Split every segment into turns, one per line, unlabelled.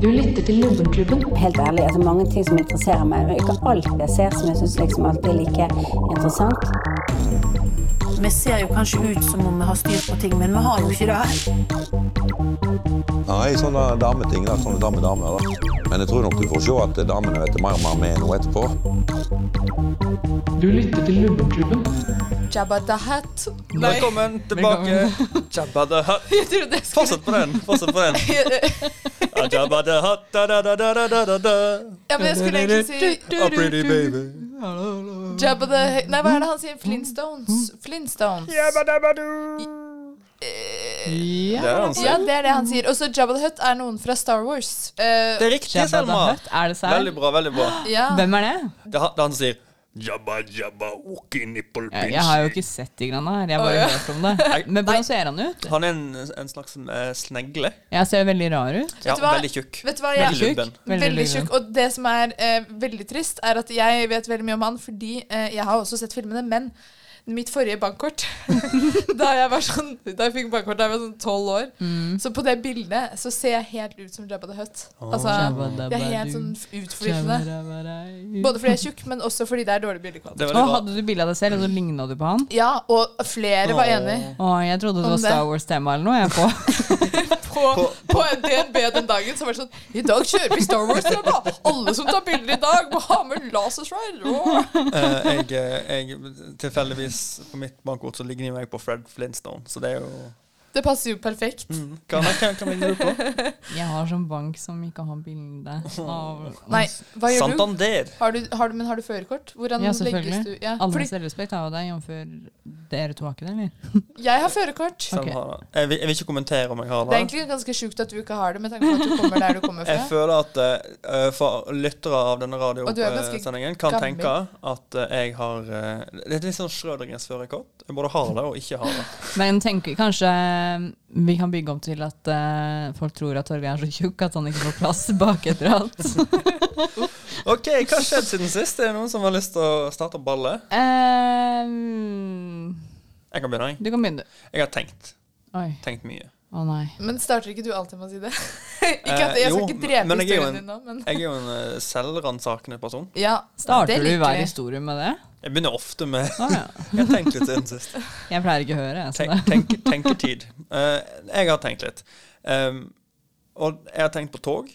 Du lytter til Lubbenklubben.
Helt ærlig, altså mange ting som interesserer meg. men Ikke alt jeg ser som jeg syns liksom alltid er like interessant.
Vi ser jo kanskje ut som om vi har styr på ting, men vi har jo ikke det.
Nei, sånne eh, dameting. da, Sånne damedamer. da. Men jeg tror nok du får se at damene vet mer og mer med nå etterpå.
Du lytter til Lubbenklubben.
Jabba the Hutt. Nei,
Velkommen tilbake. Jabba the Hutt.
jeg trodde jeg skulle
Fortsett på den. Fortsett på den. Ja, Jabba the Hutt, da, da, da, da, da, da, da, da.
Ja, men jeg skulle egentlig si
Oh, pretty baby.
Jabba the Nei, hva er det han sier? Flintstones? Flintstones.
Jabba dabba do. Det er
Ja,
han sier.
det er det han sier. Og så Jabba the Hutt er noen fra Star Wars. Eh,
Det er riktig,
Jabba the
Selma.
Hutt, Er det sant?
Veldig bra, veldig bra.
ja.
Hvem er det?
Det er han det er han som sier Jabba jabba oki nipple
Jeg,
pinch.
jeg har jo ikke sett de greiene her. Jeg har bare hørt om det. Men hvordan ser han ut?
Han er en, en slags eh, snegle.
Jeg ser veldig rar ut.
Ja,
du hva?
veldig tjukk.
Vet du hva,
Veldig
jeg
lubben.
Veldig
liten.
tjukk. Og det som er eh, veldig trist, er at jeg vet veldig mye om han fordi eh, jeg har også sett filmene, men mitt forrige bankkort Da jeg var sånn Da jeg fikk bankkort da jeg var sånn tolv år, så på det bildet så ser jeg helt ut som Jabba the Hutt. Altså,
Jabba dabba
jeg er helt
du.
sånn
Jabba
utflytende.
dabba dei.
Både fordi jeg er tjukk, men også fordi det er dårlig
Det
bildekvalitet.
er
Å,
veldig bra.
hadde du bilde av deg selv, og så ligna du på han?
Ja, og flere var
Åh.
enig
Å, jeg trodde det
Om
var
det.
Star Wars-tema eller noe. Jeg på.
på, på en DNB den dagen. Som var sånn I dag kjører vi Star Wars, dere, da! Alle som tar bilder i dag, må ha med laserstride! Åh.
Eh, jeg, eh, jeg tilfeldigvis på mitt bankkort så ligner jeg meg på Fred Flintstone, så det er jo
Det passer jo perfekt.
mm, Hva hva- hva ligner du på?
Jeg har sånn bank som ikke har bilde av
Nei,
Mm.
hva gjør du?
Santander.
Har du, har du? Men har du førerkort? Hvordan
Ja,
legges du?
selvfølgelig.
Ja,
Allmenn
fordi
selvrespekt er jo det, jf. dere to har ikke det, eller?
jeg har førerkort.
Selma
Ok.
har det. Jeg, vil, jeg vil ikke kommentere om jeg har
Det er
det.
egentlig ganske sjukt at du ikke har det, med tanke på at du kommer der du kommer
Jeg
fra.
føler at eh, for lyttere av denne
Og du er ganske
radiosendingen kan
gammel.
tenke at eh, jeg har eh, Det er litt sånn Schrødingens førerkort. Jeg både har det og ikke har det.
Men tenker kanskje eh, vi kan bygge om til at eh, folk tror at Torgeir er så tjukk at han ikke får plass bak etter alt.
OK, hva har skjedd siden sist? Er det noen som har lyst til å starte ballet?
Eh,
Jeg kan begynne, jeg.
du kan begynne, du.
Jeg har tenkt.
Oi.
Tenkt mye.
Å nei.
Men starter ikke du alltid med å si det? ikke at
Eh,
Jeg skal
jo,
ikke
men-
drepe
men jeg er jo
historien
en-
din nå, men
Jeg er jo en eh, selvransakende person.
ja, det
Starter du
liker
hver
jeg.
historie med det?
Jeg begynner ofte med
Å, ja.
Jeg har tenkt litt siden sist.
Jeg pleier ikke å høre, jeg. Så
Tenk,
det.
tenk, tenketid. Eh, jeg har tenkt litt. Um, og jeg har tenkt på tog.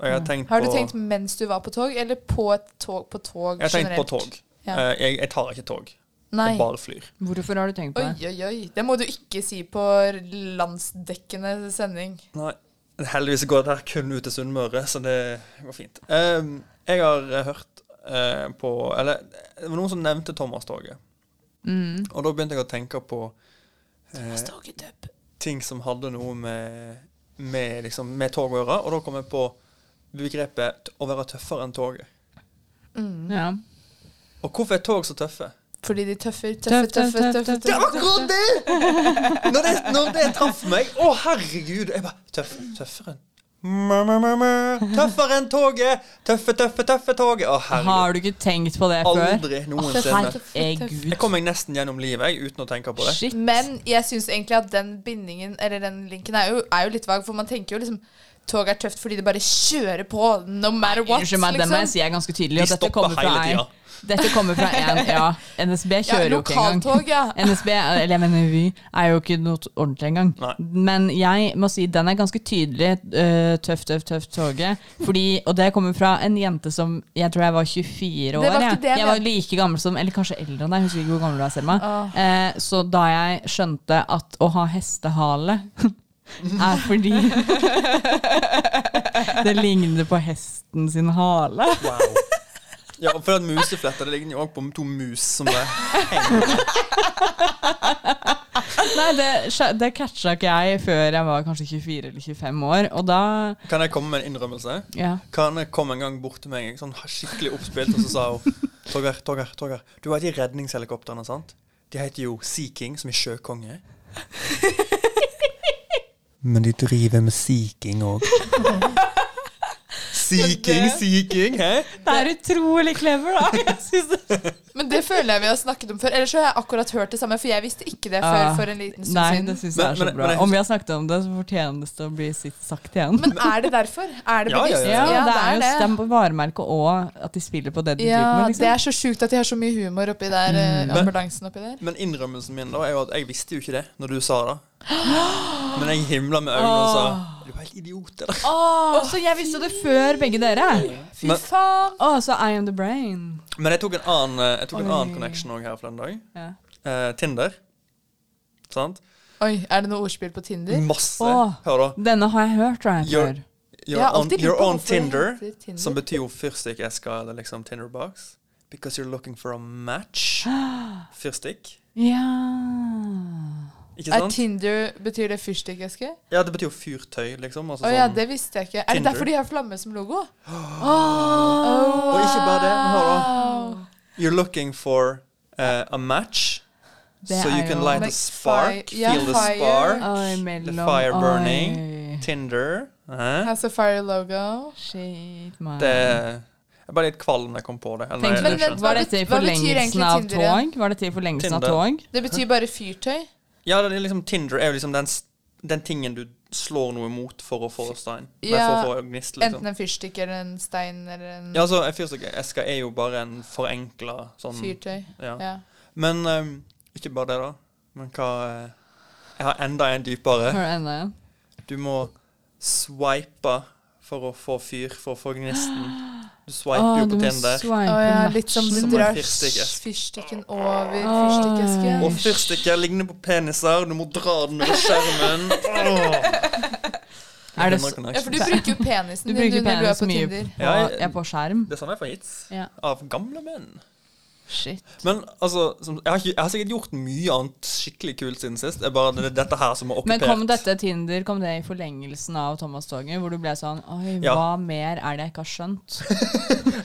Og jeg har tenkt
Mm. Har du
på
tenkt mens du var på tog, eller på et tog på tog
Jeg har tenkt på tog.
Ja.
Eh, jeg, jeg tar ikke tog.
Nei.
Jeg bare flyr.
Hvorfor har du tenkt på
Oi,
det?
oi, oi. Det må du ikke si på landsdekkende sending.
Nei. Heldigvis går det her kun ut til Sunnmøre, så det går fint. Ehm, jeg har eh, hørt eh, på Eller det var noen som nevnte Thomas-toget.
Mm.
Og da begynte jeg å tenke på eh,
Toget døp.
ting som hadde noe med, med, liksom, med tog å gjøre. Og da kom jeg på begrepet t- å være tøffere enn toget.
Ja.
Og hvorfor er tog så tøffe?
Fordi de tøffer, tøffer,
Tøff, tøff,
tøffer,
tøff,
tøffer,
tøff.
Det er
tøffer.
akkurat det! Når det, når det traff meg Å, herregud! Jeg bare tøff, Tøffere enn Mø, mø, mø, mø. Tøffere enn toget! Tøffe, tøffe, tøffe toget! Å, herregud.
Har du ikke tenkt på det før?
Aldri noensinne.
Ei,
Jeg
Eh, gud.
kom meg nesten gjennom livet jeg, uten å tenke på det.
Shit.
Men jeg syns egentlig at den bindingen, eller den linken, er jo, er jo litt vag. For man tenker jo liksom Tog er tøft fordi det bare kjører på, no matter what.
Unnskyld meg, det må jeg
liksom.
si er ganske tydelig.
De
Og dette
stopper
kommer fra
hele
en,
tida.
dette kommer fra en ja, NSB
Ja,
kjører jo ikke engang.
lokaltog, ja.
NSB, eller jeg mener Vy, er jo ikke noe ordentlig engang.
Nei.
Men jeg må si den er ganske tydelig. eh, tøff, tøff, tøff toget. Fordi, og det kommer fra en jente som jeg tror jeg var 24 år.
Det var ikke
jeg.
det jeg
jeg var
mente.
like gammel som, eller kanskje eldre enn deg. Husker ikke hvor gammel du er, Selma. Eh, så da jeg skjønte at å ha hestehale er fordi det ligner på hesten sin hale.
Wow. Ja, for at musefletter det ligner jo òg på to mus som det
Nei, det, skj- det catcha ikke jeg før jeg var kanskje 24 eller 25 år, og da
Kan jeg komme med en innrømmelse?
ja.
Kane kom en gang bort til meg sånn skikkelig oppspilt, og så sa hun Torgeir, Torgeir, Torgeir, du vet de redningshelikoptrene, sant? De heter jo Sea King, som er sjøkonge. Men de driver med sea king òg. Seeking, seeking. Hæ?
Det er utrolig clever, da. Jeg synes det.
Men det føler jeg vi har snakket om før. Ellers så har jeg akkurat hørt det samme, for jeg visste ikke det før
Ah.
for en liten stund
Nei, det
siden.
syns jeg er
Men-
så
men- men
bra.
jeg-
Om vi har snakket om det, så fortjener det å bli sitt sagt igjen.
Men er det derfor? Er det
Ja, ja,
bevisst?
ja.
Ja, det er jo
det.
stem på varemerket og at de spiller på det de
Ja,
driver med.
det
Liksom.
er så sjukt at de har så mye humor oppi der.
Mm,
eh, Ambulansen oppi der.
Men innrømmelsen min da er jo at jeg visste jo ikke det når du sa det. Men jeg himla med øynene og sa Er du helt idiot, eller?
Å, så jeg visste det før begge dere.
Fy
Men-
faen!
Å, så I am the brain.
Men jeg tok en annen, eh, jeg tok en
Oi.
annen connection òg her for den dag.
Ja.
Eh, Tinder. Sant?
Oi, er det noe ordspill på Tinder?
Masse.
Åh.
Hør, da.
Denne har jeg hørt, tror jeg.
Gjør-
før.
Jeg har
You're on,
alltid lurt
you're
på
on
hvorfor det
Tinder,
heter Tinder.
som betyr jo fyrstikkeske eller liksom Tinderbox. Because you're looking for a match. Fyrstikk.
Ja.
Ikke
Er
sant?
Tinder Betyr det fyrstikkeske?
Ja, det betyr jo fyrtøy, liksom. Altså
Å ja,
sånn-
det visste jeg ikke. Er det
Tinder.
derfor de har flamme som logo?
Og ikke bare det. men Hør, da. You're looking for eh, a match.
Det
so you
er
can
jo-
light a
Like
spark,
fi- ja,
feel the
fire.
spark.
Oi,
The
mellom
fire burning.
Oi.
Tinder. eh,
House of Fire-logo.
Shit, man.
Det Jeg ble litt kvalm da jeg kom på det. Eller,
Tenk,
nei,
men
jeg skjønte
vent,
var
hva
dette i
betyr
forlengelsen
egentlig
av
Tinder igjen?
tog? Var dette i forlengelsen av
Tinder.
tog?
Det betyr bare fyrtøy.
Ja, det er liksom Tinder er jo liksom den, s- den tingen du slår noe mot for å få stein. Nei,
Ja,
for å få gnist,
Enten
liksom.
en fyrstikk eller en stein eller en
Ja, altså, en fyrstikkeske er jo bare en forenkla sånn
fyrtøy.
ja.
Ja.
Men ehm, ikke bare det, da. Men hva eh, Jeg har enda en dypere.
Hør enda en.
Du må swipe for å få fyr, for å få gnisten. Du
Å,
swiper jo
du
på
må
Tinder.
swipe
Å ja,
match.
litt som du
Som en
drar
fyrstikkeske.
fyrstikken over fyrstikkeske.
Og fyrstikker ligner på peniser. Du må dra den over skjermen. Åh.
Er
Ja,
Denne
det så-
for
connection.
du bruker jo penisen
Du
din
bruker
du, når du er
penis
på
mye
Tinder.
på,
Ja,
jeg er på skjerm.
Det samme er for hits.
Ja.
Av gamle menn.
Shit.
Men altså, som, jeg, har ikke, jeg har sikkert gjort mye annet skikkelig kult siden sist. Det er bare det, dette her som har
Men
okkupert
kom dette Tinder kom det i forlengelsen av Thomas Togen, hvor du ble sånn Oi,
Ja.
hva mer er det jeg ikke har skjønt?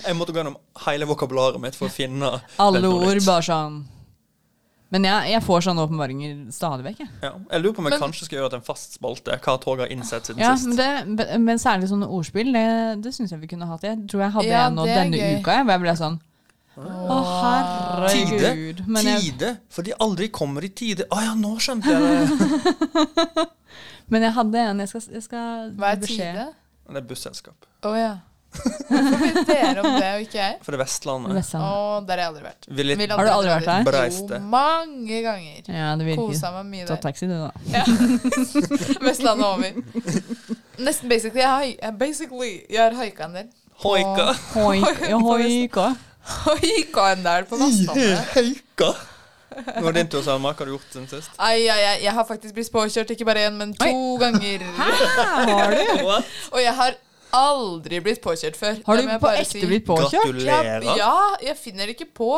Jeg måtte gå gjennom hele vokabularet mitt for å finne
Alle
noe
ord
nytt.
bare sånn Men jeg, jeg får sånne åpenbaringer stadig vekk, jeg.
Ja. Jeg lurer på om jeg
Men-
kanskje skal gjøre til en fast spalte hva Torgeir har innsett siden
Ja, men,
sist.
det, men særlig sånne ordspill, det, det syns jeg vi kunne hatt. Jeg tror jeg hadde
Ja,
en nå
det er
denne
gøy.
uka, jeg, hvor jeg ble sånn Å, herregud.
Ah, Tide.
Men jeg,
Tide. For de aldri kommer i tide. Å ja, nå skjønte jeg det.
men jeg hadde en jeg skal, jeg skal
Hva er
beskjed.
tide?
Det er busselskap.
Å ja. Hvorfor vet dere om det, og ikke jeg?
For det er Vestlandet.
Å,
Vestlandet.
der har jeg aldri vært.
Vil litt
Vil
Har du aldri vært der?
Breiste.
Jo, mange ganger.
Ja, det virker.
Kosa meg mye
Ta
der.
taxi, du, da.
Vestlandet over. Nesten basically. Jeg har, jeg- basically, jeg har haika en del.
hoika.
Hoik, ja, hoika.
Haika en del på Vestlandet.
Hoika. Nå er det din tur, Selma. Hva har du gjort siden sist?
Ai, ai, ai. Jeg har faktisk blitt påkjørt ikke bare én, men to ganger.
Her Ah, har du!
Og jeg har aldri blitt påkjørt før.
Har
Det
du
må jeg
på
bare si.
ekte blitt påkjørt?
Ja,
Gratulerer.
ja, jeg finner det ikke på.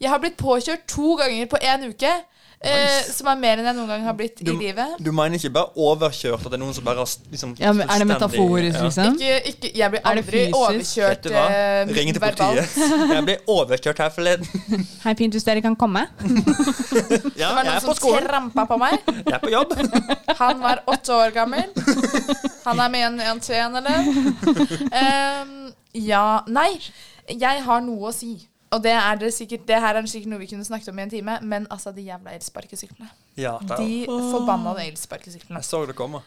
Jeg har blitt påkjørt to ganger på én uke. Eh, som er mer enn jeg noen gang har blitt i livet.
Du mener ikke bare overkjørt, at det er noen som bare har s- liksom
Ja, men er
fullstendig-
det metaforisk,
Ja.
liksom?
Ikke, ikke, jeg blir
Er det
aldri
fysisk?
Vet
overkjørt
du hva?
eh,
Ring til
verbalt.
politiet. Jeg ble overkjørt her forleden.
Hei, Pintus, dere kan komme.
Ja,
Det var
jeg
noen
er på
som
skolen.
trampa på meg.
Jeg er på jobb.
Han var åtte år gammel. Han er med i en entreen, eller? Em, ja Nei, jeg har noe å si. Og det er det sikkert Det her er sikkert noe vi kunne snakket om i en time, men altså, de jævla elsparkesyklene.
Ja, det er jo-
De forbanna elsparkesyklene.
jeg så det komme.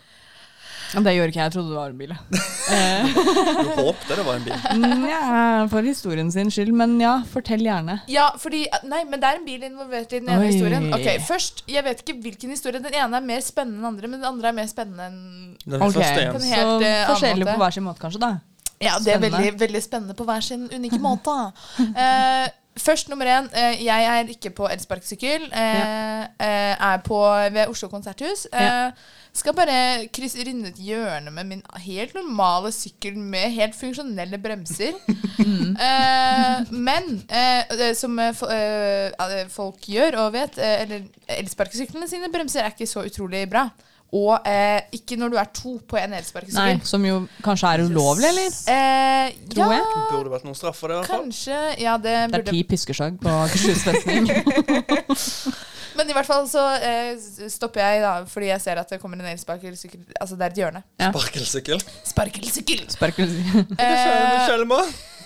Det gjorde ikke jeg, jeg trodde det var en bil.
Du håpte det var en bil.
Nja, Mm, for historien sin skyld, men ja, fortell gjerne.
Ja, fordi, nei, men det er en bil involvert i den ene
Oi.
historien. Ok, først, Jeg vet ikke hvilken historie. Den ene er mer spennende enn den andre, men den andre er mer spennende enn
Den
Ok,
første
På en
igjen.
Så
helt, eh, annen
forskjellig
måte.
på hver sin måte, kanskje, da.
Ja, det er
Spennende.
veldig, veldig spennende på hver sin unike måte. Eh, først nummer én. Eh, jeg er ikke på elsparkesykkel. Eh, eh, er på, ved Oslo konserthus. Eh, skal bare krysse runde et hjørne med min helt normale sykkel med helt funksjonelle bremser.
Mm.
Eh, men eh, det som eh, fo- eh, eh, folk gjør og vet, eh, eller elsparkesyklene sine bremser er ikke så utrolig bra. og eh, ikke når du er to på en
Nei,
elsparkesykkel.
som jo kanskje er ulovlig, eller?
Eh,
Tror
ja,
jeg.
Burde vært noen straff for det, i hvert fall.
kanskje. Ja, det
Det er
burde
ti piskeslag på Akershus festning.
Men i hvert fall så eh, s- stopper jeg da, fordi jeg ser at det kommer en elsparkesykkel. Altså, det er et hjørne.
Sparkelsykkel.
Sparkelsykkel!
Sparkelsykkel.
Eh,
Kjelma.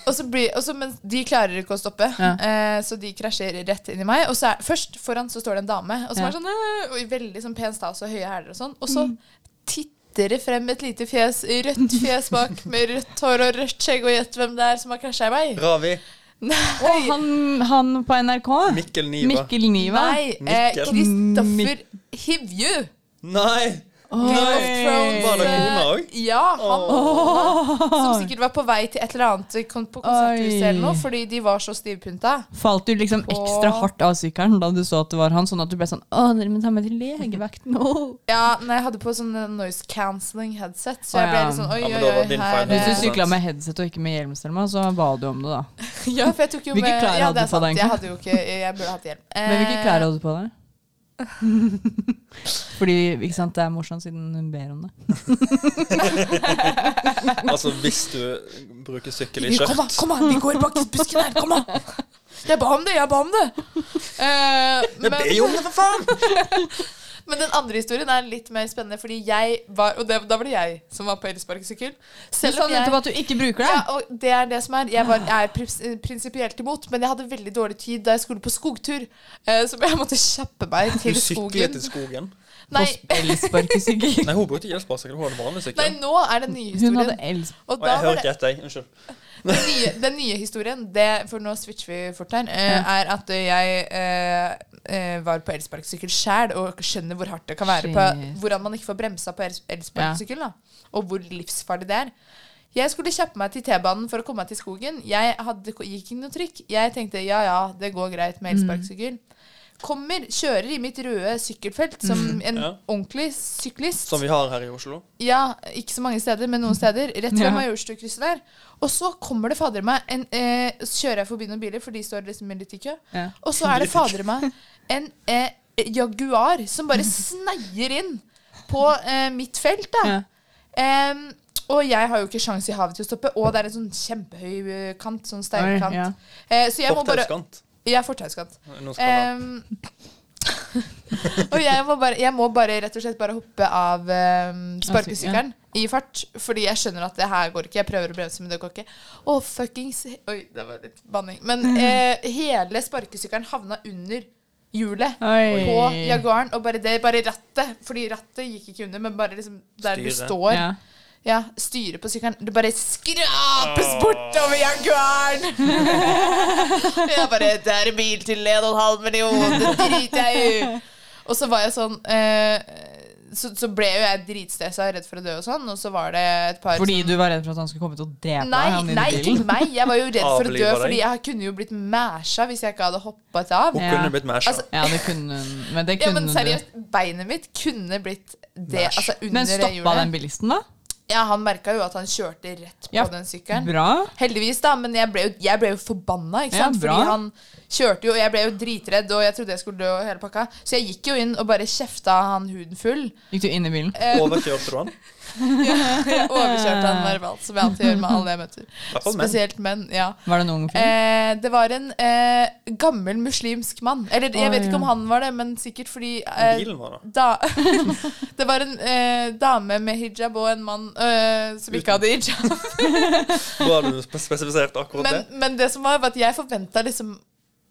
og så blir, og så, men de klarer ikke å stoppe,
Ja.
eh, så de krasjer rett inn i meg. Og så er, først foran så står det en dame, og som
Ja.
er
Mm.
sånn, eh, og i veldig sånn pen stas og høye hæler og sånn. Og så titter det frem et lite fjes, rødt fjes bak, med rødt hår og rødt skjegg, og gjett hvem det er som har krasja i meg.
Ravi.
Og han, han på NRK.
Mikkel Niva.
Mikkel Niva.
Nei, eh,
Mikkel.
Kristoffer Hivju.
Nei!
Game of Thrones.
Var det
eh,
kona òg?
Ja, han som sikkert var på vei til et eller annet kon- på konserthuset
Oi.
eller noe, fordi de var så stivpynta.
Falt du liksom ekstra hardt av sykkelen da du så at det var han, sånn at du ble sånn Å, dere må ta med til legevakten. Åh.
Ja, nei, jeg hadde på sånn eh, noise cancelling headset, så
Å,
jeg ble
ja.
litt sånn oi,
Ja, men
oi,
da var
oi.
din
Her,
feil.
Hvis du
eh,
sykla med headset og ikke med hjelm, Selma, så ba du om det, da.
ja, for jeg tok jo
Hvilke
med
klær
ja,
hadde
det
du
er
på
sant,
deg?
Jeg hadde jo ikke Jeg burde hatt hjelm.
Men hvilke klær
Eh,
hadde du på deg? Fordi ikke sant, det er morsomt siden hun ber om det.
Altså, hvis du bruker sykkel i
Kom, da,
skjørt.
kom da, vi går bak busken her, kom da! Jeg ba om det, jeg ba om det! Eh,
Jeg ber jo om det, for faen!
Men den andre historien er litt mer spennende, fordi jeg var Og det, da var det jeg som var på elsparkesykkel.
Du sa nettopp at du ikke bruker det.
Ja, og det er det som er. Jeg, var, jeg er prins- prinsipielt imot, men jeg hadde veldig dårlig tid da jeg skulle på skogtur. Eh, så jeg måtte kjappe meg
Du
til
sykler
skogen.
til skogen.
Nei,
På elsparkesykkel.
Nei, hun brukte ikke elsparkesykkel, hun hadde vanlig
nei,
sykkel.
nå er den nye
Hun hadde
historien.
els...
Og
Og
da
jeg
var
hører
det,
ikke etter, jeg. Unnskyld.
den, nye, den nye historien, det, for nå switcher vi fort her, eh, er at jeg eh, eh, var på elsparkesykkel sjæl og skjønner hvor hardt det kan være på
Shit.
hvordan man ikke får bremsa på els- elsparkesykkel, da. Og hvor livsfarlig det er. Jeg skulle kjappe meg til T-banen for å komme meg til skogen. Jeg hadde, gikk ikke noe trykk. Jeg tenkte ja, ja, det går greit med elsparkesykkel. Kommer, kjører i mitt røde sykkelfelt som en
Ja.
ordentlig syklist.
Som vi har her i Oslo.
Ja, ikke så mange steder, men noen steder. Rett ved
Ja.
Majorstukrysset der. Og så kommer det fader meg en eh, Så kjører jeg forbi noen biler, for de står liksom litt i kø.
Ja.
Og så er det fader meg en eh, Jaguar som bare sneier inn på eh, mitt felt, da.
Ja.
Em, og jeg har jo ikke sjans i havet til å stoppe. Og det er en sånn kjempehøy eh, kant. Sånn
Oi,
steilkant.
ja.
Eh, så jeg må bare
Fortauskant.
Jeg er fortauskant.
Noen skal ha-
Ehm, og jeg må, bare, jeg må bare rett og slett bare hoppe av ehm, sparkesykkelen i fart. Fordi jeg skjønner at det her går ikke. Jeg prøver å bremse, men det går ikke. Å, fuckings Oi, det var litt banning. Men eh, hele sparkesykkelen havna under hjulet
Oi.
på Jaguaren. Og bare det, bare rattet. Fordi rattet gikk ikke under, men bare liksom der du
Styret.
står.
Ja.
Ja, styre på sykkelen. Det bare skrapes bortover Jaguaren! jeg bare Det er en bil til 1,5 million, det driter jeg i! Og så var jeg sånn eh, så, så ble jo jeg dritstressa og redd for å dø og sånn, og så var det et par
Fordi
som-
du var redd for at han skulle komme til å drepe deg?
Nei,
han
nei,
inne i
ikke
bilen.
meg. Jeg var jo redd for å dø,
Avliva deg.
fordi jeg kunne jo blitt mæsja hvis jeg ikke hadde hoppet av.
Hun
Ja.
kunne blitt masha.
Altså,
Ja, det kunne hun. Men det
Ja,
kunne
men
hun jo.
seriøst, beinet mitt kunne blitt det, altså under
Men
det
stoppa
hjulet.
den bilisten, da?
Ja, han merka jo at han kjørte rett på
Ja,
den sykkelen.
Bra.
Heldigvis, da, men jeg ble jo, jeg ble jo forbanna. Ikke
Ja,
sant?
bra.
Fordi han kjørte jo, og jeg ble jo dritredd, og jeg trodde jeg skulle dø. og hele pakka Så jeg gikk jo inn og bare kjefta han huden full.
Gikk du inn i bilen?
eh,
Overkjørte du han?
Jeg overkjørte han verbalt, som jeg alltid gjør med alle jeg møter.
I hvert fall menn.
Spesielt menn. ja
Var det en ung fyr?
Eh, det var en eh, gammel muslimsk mann. Eller jeg
Å,
vet ikke om
ja.
han var det, men sikkert fordi eh,
Bilen var da.
da, Det var en eh, dame med hijab og en mann eh, som ikke hadde hijab.
Bra du spe- spesifiserte akkurat
men,
det.
men det som var, var at jeg forventa liksom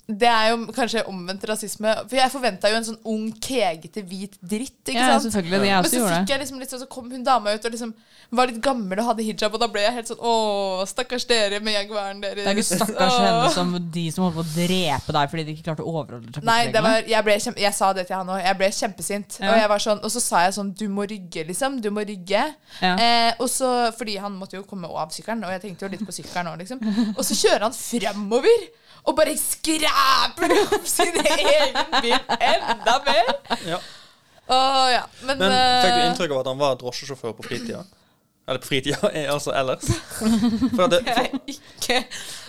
Det er jo kanskje omvendt rasisme. For jeg forventa jo en sånn ung, kegete, hvit dritt. Ikke
Ja,
sant?
selvfølgelig. Jeg
Men
også
så
gjorde
fikk
det.
jeg liksom litt sånn, så kom hun dama ut og liksom var litt gammel og hadde hijab, og da ble jeg helt sånn Å, stakkars dere med jaguaren deres.
Det er ikke stakkars
Åh.
henne som de som holdt på å drepe deg fordi de ikke klarte å overholde
Nei, det
trafikkreglene.
var, jeg, ble kjempe, jeg sa det til han òg. Jeg ble kjempesint.
Ja.
Og, jeg var sånn, og så sa jeg sånn Du må rygge, liksom. Du må rygge.
Ja.
Eh, og så, fordi han måtte jo komme av sykkelen, og jeg tenkte jo litt på sykkelen òg, liksom. Og så kjører han framover og bare skraper opp sin egen bil enda mer.
Ja.
Å, ja. Men,
Men fikk du
eh,
inntrykk av at han var drosjesjåfør på fritida? Eller på fritida, eh, altså ellers. For at det,
Det er ikke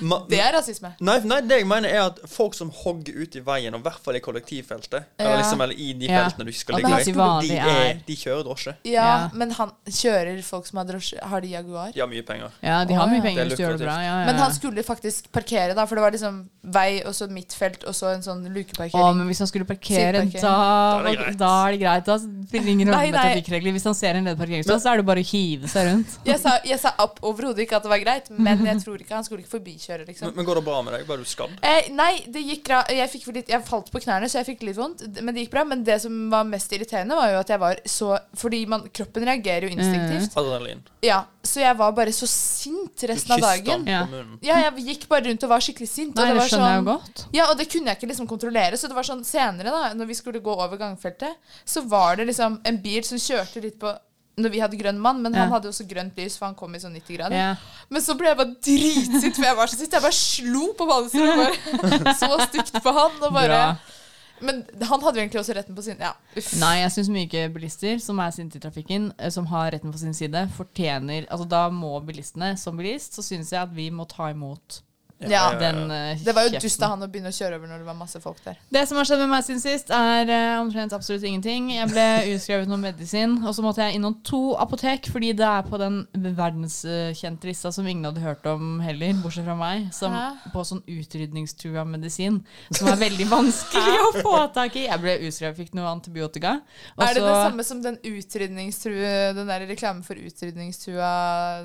ma-
Det er rasisme.
Nei, nei, det jeg mener er at folk som hogger ut i veien, og i hvert fall i kollektivfeltet,
Ja.
eller, liksom, eller i de
Ja.
feltene du ikke skal
Ja,
ligge
men
i,
hva
de,
de
er,
er.
de kjører drosje.
Ja,
Ja.
men han kjører folk som har drosje. Har de Jaguar?
De har mye penger.
Ja, de
Å,
har
ja.
mye penger
Det er
hvis du gjør det bra. Ja, ja, ja.
Men han skulle faktisk parkere, da, for det var liksom vei og så mitt felt og så en sånn
Å,
lukeparkering.
men hvis han skulle parkere,
Sideparkering.
da,
Da er det greit.
da er det greit. Da spiller det ingen rolle
Nei,
med
nei.
trafikkregler. Hvis han ser en ledig parkeringsplass, så er det bare å hive seg rundt.
Jeg sa, jeg sa opp overhodet ikke at det var greit, men jeg tror ikke han skulle ikke forbikjøre,
Men,
liksom.
men går det bra med deg? Var du skadd?
Eh, nei, det gikk bra. Jeg, fikk for litt, jeg falt på knærne, så jeg fikk litt vondt. d- Men det gikk bra. Men det som var mest irriterende, var jo at jeg var så Fordi man, kroppen reagerer
Mm.
jo instinktivt.
Adrenalin.
Ja, Så jeg var bare så sint resten av
Kysset han
dagen.
Ja.
på munnen.
Ja, jeg gikk bare rundt og var skikkelig sint.
Nei,
og
det
var
skjønner jeg
sånn,
jo godt.
Ja, og det kunne jeg ikke liksom kontrollere. Så det var sånn senere, da, når vi skulle gå over gangfeltet, så var det liksom en bil som kjørte litt på når vi hadde grønn mann, men han
Ja.
hadde også grønt lys, for han kom i sånn 90 grader.
Ja.
Men så ble jeg bare dritsint, for jeg var så sint. Jeg bare slo på badestolen og bare så stygt på han. Og bare,
Bra.
men han hadde jo egentlig også retten på sin. Ja, uff.
Nei, jeg syns mye bilister som er sinte i trafikken, eh, som har retten på sin side, fortjener Altså, da må bilistene, som bilist, så syns jeg at vi må ta imot
ja.
ja, ja.
den eh,
Det var jo
kjeften.
dust av han å begynne å kjøre over når det var masse folk der.
Det som har skjedd med meg siden sist, er eh, omtrent absolutt ingenting. Jeg ble utskrevet noe medisin, og så måtte jeg innom to apotek, fordi det er på den verdenskjente lista som ingen hadde hørt om heller, bortsett fra meg, som,
Hæ?
på sånn utrydningstrua medisin, som er veldig vanskelig å få tak i. Jeg ble utskrevet, fikk noe antibiotika. og
er det
så-
det samme som den utrydningstrue Den der reklamen for utrydningstrua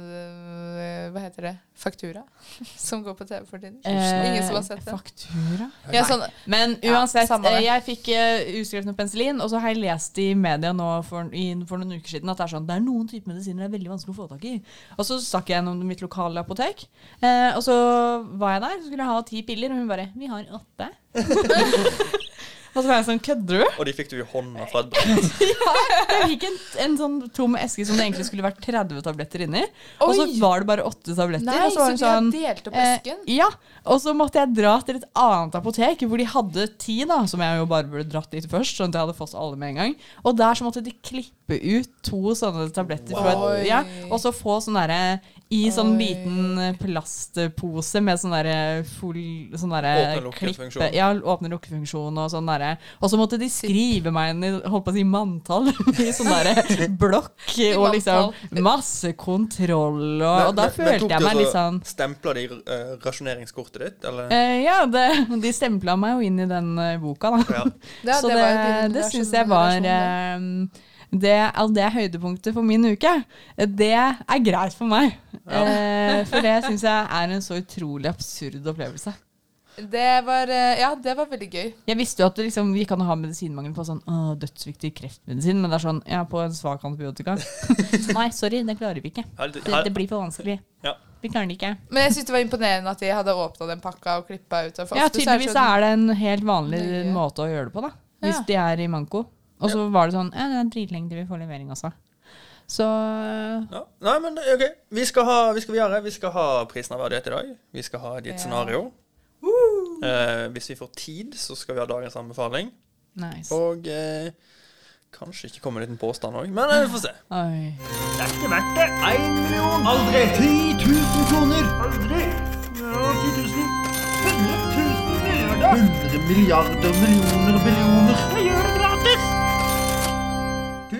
øh, Hva heter det? Faktura? Som går på TV for tiden.
Eh,
Ingen som har sett den.
Faktura?
Jeg er sånn,
Men
Ja,
uansett,
samme det.
eh, jeg fikk eh, utskrevet noe penicillin, og så har jeg lest i media nå for, i, for noen uker siden at det er sånn, det er noen typer medisiner det er veldig vanskelig å få tak i. Og så stakk jeg gjennom mitt lokale apotek, eh, og så var jeg der, så skulle jeg ha ti piller, og hun bare, vi har åtte. og så var jeg sånn, kødder du?
Og de fikk du i hånda fra et brett.
Jeg fikk en, en sånn tom eske som det egentlig skulle vært 30 tabletter inni, og så
Oi!
var det bare åtte tabletter.
Nei,
og
så
var hun sånn,
de har delt opp esken?
Eh, ja, og så måtte jeg dra til et annet apotek hvor de hadde ti, da, som jeg jo bare burde dratt dit først, sånn at jeg hadde fått alle med en gang. Og der så måtte de klippe ut to sånne tabletter, fra et-
Oi.
ja, og så få sånn derre i sånn
Oi.
liten eh, plastpose med sånn derre full sånn derre
Åpne- lukkefunksjon.
klippe- Ja, åpne lukkefunksjon og sånn derre. Og så måtte de skrive meg inn i holdt på å si manntall, i sånn derre blokk og liksom masse kontroll og Og da følte jeg meg
altså
litt sånn
Stempla de eh, rasjoneringskortet ditt, eller?
Eh, ja, det, de stempla meg jo inn i den eh, boka, da.
Ja.
Ja,
så
det
det,
var jo
det,
din
syns
versjon-
jeg var
versjon,
eh, det, altså, det er høydepunktet for min uke. Det er greit for meg. Eh, for det syns jeg er en så utrolig absurd opplevelse.
Det var, eh, ja, det var veldig gøy.
Jeg visste jo at det liksom, vi kan ha medisinmangel på sånn «Åh, dødsviktig kreftmedisin, men det er sånn ja, på en svak antibiotika. Nei, sorry, det klarer vi ikke.
Her-
Det,
her-
det blir for vanskelig.
Ja.
Vi klarer det ikke.
Men jeg synes det var imponerende at de hadde åpna den pakka og klippa ut. Og for
Ja,
ofte så er det
tydeligvis
sånn-
er det en helt vanlig
Nøye.
måte å gjøre det på, da. Hvis
Ja.
de er i manko. Og så var det sånn Ja, det er dritlenge til vi får levering, altså. Så øh,
Ja. Nei, men OK. Vi skal, ha, vi skal videre. Vi skal ha prisen av verdighet i dag. Vi skal ha ditt
Ja.
scenario. Eh, hvis vi får tid, så skal vi ha dagens anbefaling.
nice.
Og eh, kanskje ikke komme med en liten påstand òg, men eh, vi får se.
Oi.
ikke verdt det. Én million. Aldri. 10 000 kroner. Aldri. Ja, 10 000. 100 000 milliarder. 100 milliarder, millioner, billioner. Jeg gjør det gratis.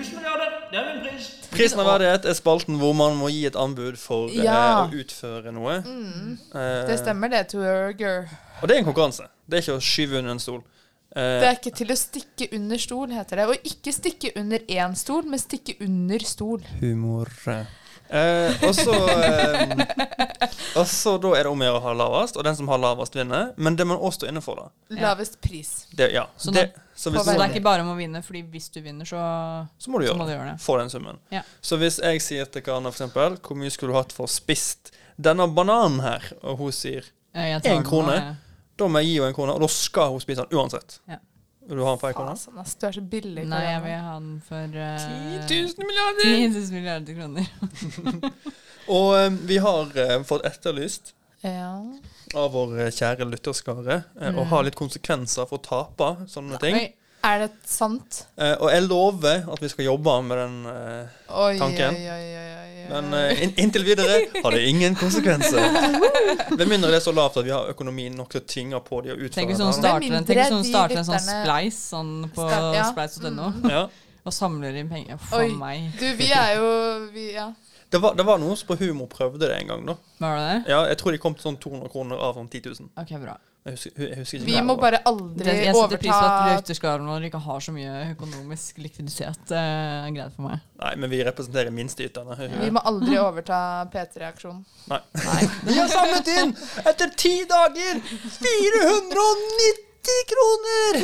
1000 milliarder. Det er min pris.
Prisen av verdighet er spalten hvor man må gi et anbud for eh,
Ja.
å utføre noe.
Mm.
Eh,
Det stemmer, det. Twerger.
og det er en konkurranse. Det er ikke å skyve under en stol. Eh,
Det er ikke til å stikke under stol, heter det. Og ikke stikke under én stol, men stikke under stol.
humor. Eh, og så eh, Og så da er det om å gjøre å ha lavest, og den som har lavest, vinner. Men det må også stå inne for, da.
Lavest pris.
Det, ja.
Så
det, så,
Så
hvis,
det
så,
er ikke bare om å vinne, fordi hvis du vinner, så
må du
så
gjøre
må du
det.
gjøre det.
Få den summen.
Ja.
Så hvis jeg sier til Karina f.eks.: Hvor mye skulle du hatt for spist denne bananen her? Og hun sier
Eh, jeg tar
En
den nå,
krone.
jeg.
Da må jeg gi henne en krone, og da skal hun spise den uansett.
Ja.
Vil du ha den for en krone?
Fasen, ass. Altså, Du er så billig.
Nei, jeg
Karina.
vil ha den for eh,
1000 milliarder!
10 000 milliarder kroner.
Og eh, vi har eh, fått etterlyst
ja.
av vår eh, kjære lytterskare eh,
Mm.
å ha litt konsekvenser for å tape sånne ting.
Oi.
Er det sant?
Eh, og jeg lover at vi skal jobbe med den eh,
Oi,
Tanken.
oi, oi, oi, oi,
Men eh, inn- inntil videre har det ingen konsekvenser. Med mindre det er så lavt at vi har økonomien nok til å tynge på de og
Tenk
utføre
hvis noen
sånn
det.
starter en, tenk hvis noen
mindre de
starter en sånn
lytterne-
spleis sånn på
Skal- ja. Mm.
spleis.no,
Ja.
og samler inn penger.
Oi.
For meg.
Du, vi er jo vi, ja.
Det, var, det var noen som på humor prøvde det en gang. da
Var det det?
Ja, Jeg tror de kom til sånn 200 kroner av sånn 10 000.
Ok, bra.
Jeg husker, jeg husker ikke
vi
hva det
må
var.
bare
Det,
aldri
jeg setter pris på at
overta
lytterskaren vår ikke har så mye økonomisk likviditet. Uh, greit for meg.
Nei, men vi representerer minsteyterne.
Vi må aldri overta P3-aksjonen.
Nei. Vi har samlet inn, etter ti dager, 490 kroner!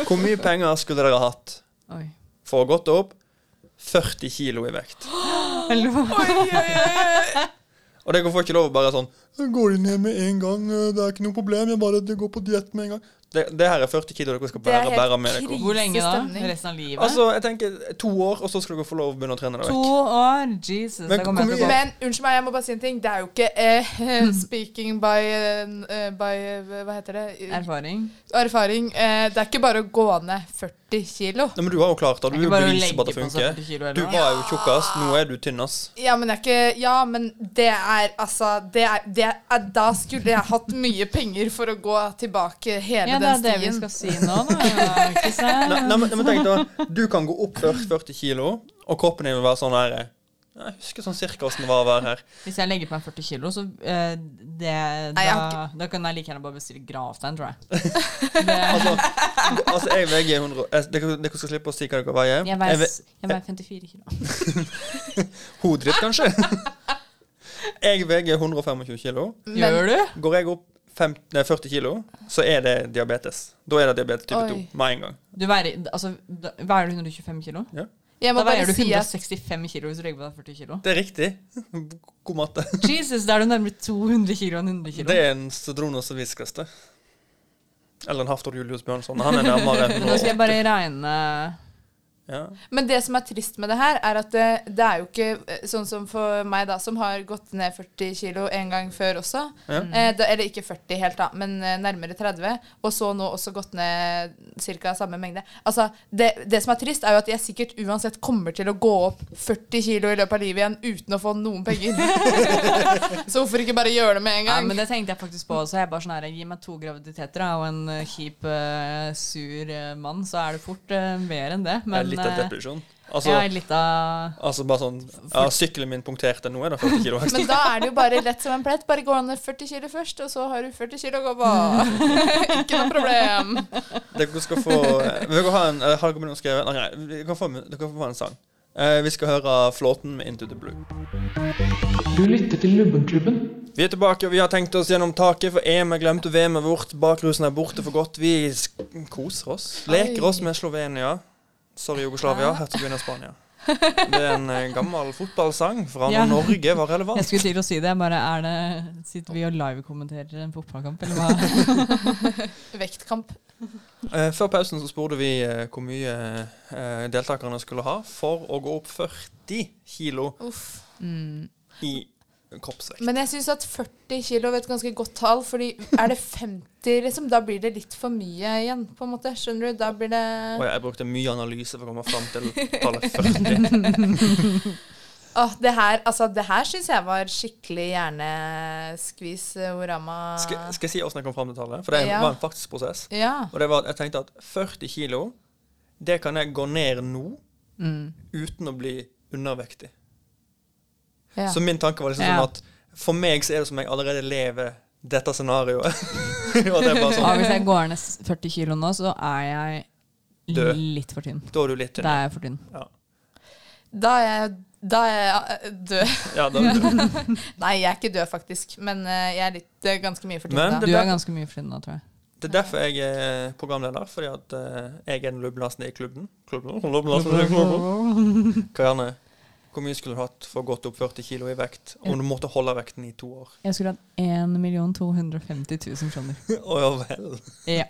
Hvor mye penger skulle dere hatt
Oi.
for å gått opp 40 kilo i vekt?
Eller hva?
Og dere får ikke lov å bare sånn Går de ned med en gang? eh, Det er ikke noe problem. Jeg bare går på diett med en gang. Det, det her er 40 kilo dere skal
Det er
bære,
helt
bære med dere.
Hvor lenge da?
Krisestemning.
Resten av livet?
Altså, jeg tenker to år, og så skal dere få lov å begynne å trene dere
to
vekk.
år? Jesus.
Men
da kommer jeg til å gå.
Men unnskyld meg, jeg må bare si en ting. Det er jo ikke eh, speaking by, eh, by eh, Hva heter det?
Erfaring.
Erfaring. Eh, det er ikke bare å gå ned 40 kilo.
Nei, men du har jo klart det. Du
Ikke
er jo
bare å
bevis på at
legge
det
på seg 40 kilo,
funker.
eller
Du
hva?
var jo tjukkas, nå er du tynnas.
Ja, men det er ikke Ja, men det er altså det er, det er, Da skulle jeg hatt mye penger for å gå tilbake hele
Ja, det
den
er det vi
stien.
skal si nå, da. Ikke sant?
Nei, nei, men, nei, men tenk da, du kan gå opp 40 40 kilo, og kroppen din vil være sånn her Jeg husker sånn cirka åssen det var å være her.
Hvis jeg legger på meg 40 kilo, så eh, det, da,
jeg har
da kan jeg like gjerne bare bestille gravstein, tror jeg.
Altså, altså jeg veier 100 jeg, dere, dere skal slippe å si hva dere veier.
Jeg veier,
ve-
s- jeg veier 54 kilo.
Hodet ditt, kanskje? Jeg veier 125 kilo.
Men
Gjør du?
Går jeg opp fem, nei, 40 kilo, så er det diabetes. Da er det diabetes type
Oi.
2 med en gang.
du veier, altså, da, veier du 125 kilo?
jeg
Da
må bare
veier du
si at
165 kilo hvis du legger på deg 40 kilo.
Det er riktig. God matte.
Jesus, da er du nærmere 200 kilo enn 100 kilo.
Det er en Cedronos viskas, det. Eller en Haftor Julius Bjørnson. Han er nærmere
Men nå skal jeg
180.
bare regne
Ja.
Men det som er trist med det her, er at det, det er jo ikke eh, sånn som for meg, da, som har gått ned 40 kilo en gang før også.
Ja.
Eh, da, eller ikke 40 helt, da, men eh, nærmere 30. Og så nå også gått ned ca. samme mengde. Altså, det, det som er trist, er jo at jeg sikkert uansett kommer til å gå opp 40 kilo i løpet av livet igjen uten å få noen penger. så hvorfor ikke bare gjøre det med en
ja,
gang?
Men det tenkte jeg faktisk på også. Jeg er bare sånn her, Gi meg to graviditeter da, og en eh, kjip, eh, sur eh, mann, så er det fort eh, mer enn det.
Men,
Men
litt av
eh,
depresjon.
jeg
Altså,
er litt av
altså bare sånn ja, Sykkelen min punkterte. Nå er det 40 kilo ekstra.
Men da er det jo bare lett som en plett. Bare gå ned 40 kilo først, og så har du 40 kilo å gå på. ikke noe problem.
Dere skal få eh, Vi kan ha en eh, Har dere noe skrevet? Nei, Nei, vi kan få, dere kan få en sang. Eh, vi skal høre Flåten med 'Into the Blue'.
Du lytter til Lubbenklubben.
Vi er tilbake, og vi har tenkt oss gjennom taket, for EM er glemt, og VM er bort. Bakrusen er borte for godt. Vi sk- koser oss. Leker oss med Slovenia. Sorry, Jugoslavia. Hertugen av Spania. Det er en eh, gammel fotballsang fra
Ja.
når Norge var relevant.
Jeg skulle til å si det. Bare, er det Sitter vi og livekommenterer en fotballkamp, eller hva?
Vektkamp.
Eh, før pausen så spurte vi eh, hvor mye eh, deltakerne skulle ha for å gå opp 40 kilo
Uff.
i kroppsvekt.
Men jeg syns at 40 kilo er et ganske godt tall, fordi er det 50, liksom, da blir det litt for mye igjen, på en måte. Skjønner du? Da blir det
Og jeg brukte mye analyse for å komme fram til tallet 40.
Åh, det her, altså, det her syns jeg var skikkelig hjerneskvis, eh, Orama.
Skal, skal jeg si åssen jeg kom fram til tallet? For det er en-
Ja.
var en faktisk prosess.
Ja.
Og det var at jeg tenkte at 40 kilo, det kan jeg gå ned nå
Mm.
uten å bli undervektig.
ja.
Så min tanke var liksom
Ja.
sånn at for meg så er det som jeg allerede lever dette scenarioet. og det er bare
Ja,
sånn,
hvis jeg går ned 40 kilo nå, så er jeg
Død.
litt for tynn.
Da er du litt
Da
tynn.
er jeg for tynn.
Da er jeg da er jeg eh, død.
Ja, da er du død.
Nei, jeg er ikke død, faktisk. Men eh, jeg er litt eh, ganske mye for
Men
tynn. da.
Du
det-
er ganske mye for tynn nå, tror jeg.
Det er derfor jeg er programleder, fordi at eh, jeg er den lubbelasten i klubben. Klubben? Lubbelasten i klubben. Karianne, hvor mye skulle du hatt for å gått opp 40 kilo i vekt om du måtte holde vekten i to år?
Jeg skulle hatt 1 250 000 kroner.
Å ja vel.
Ja.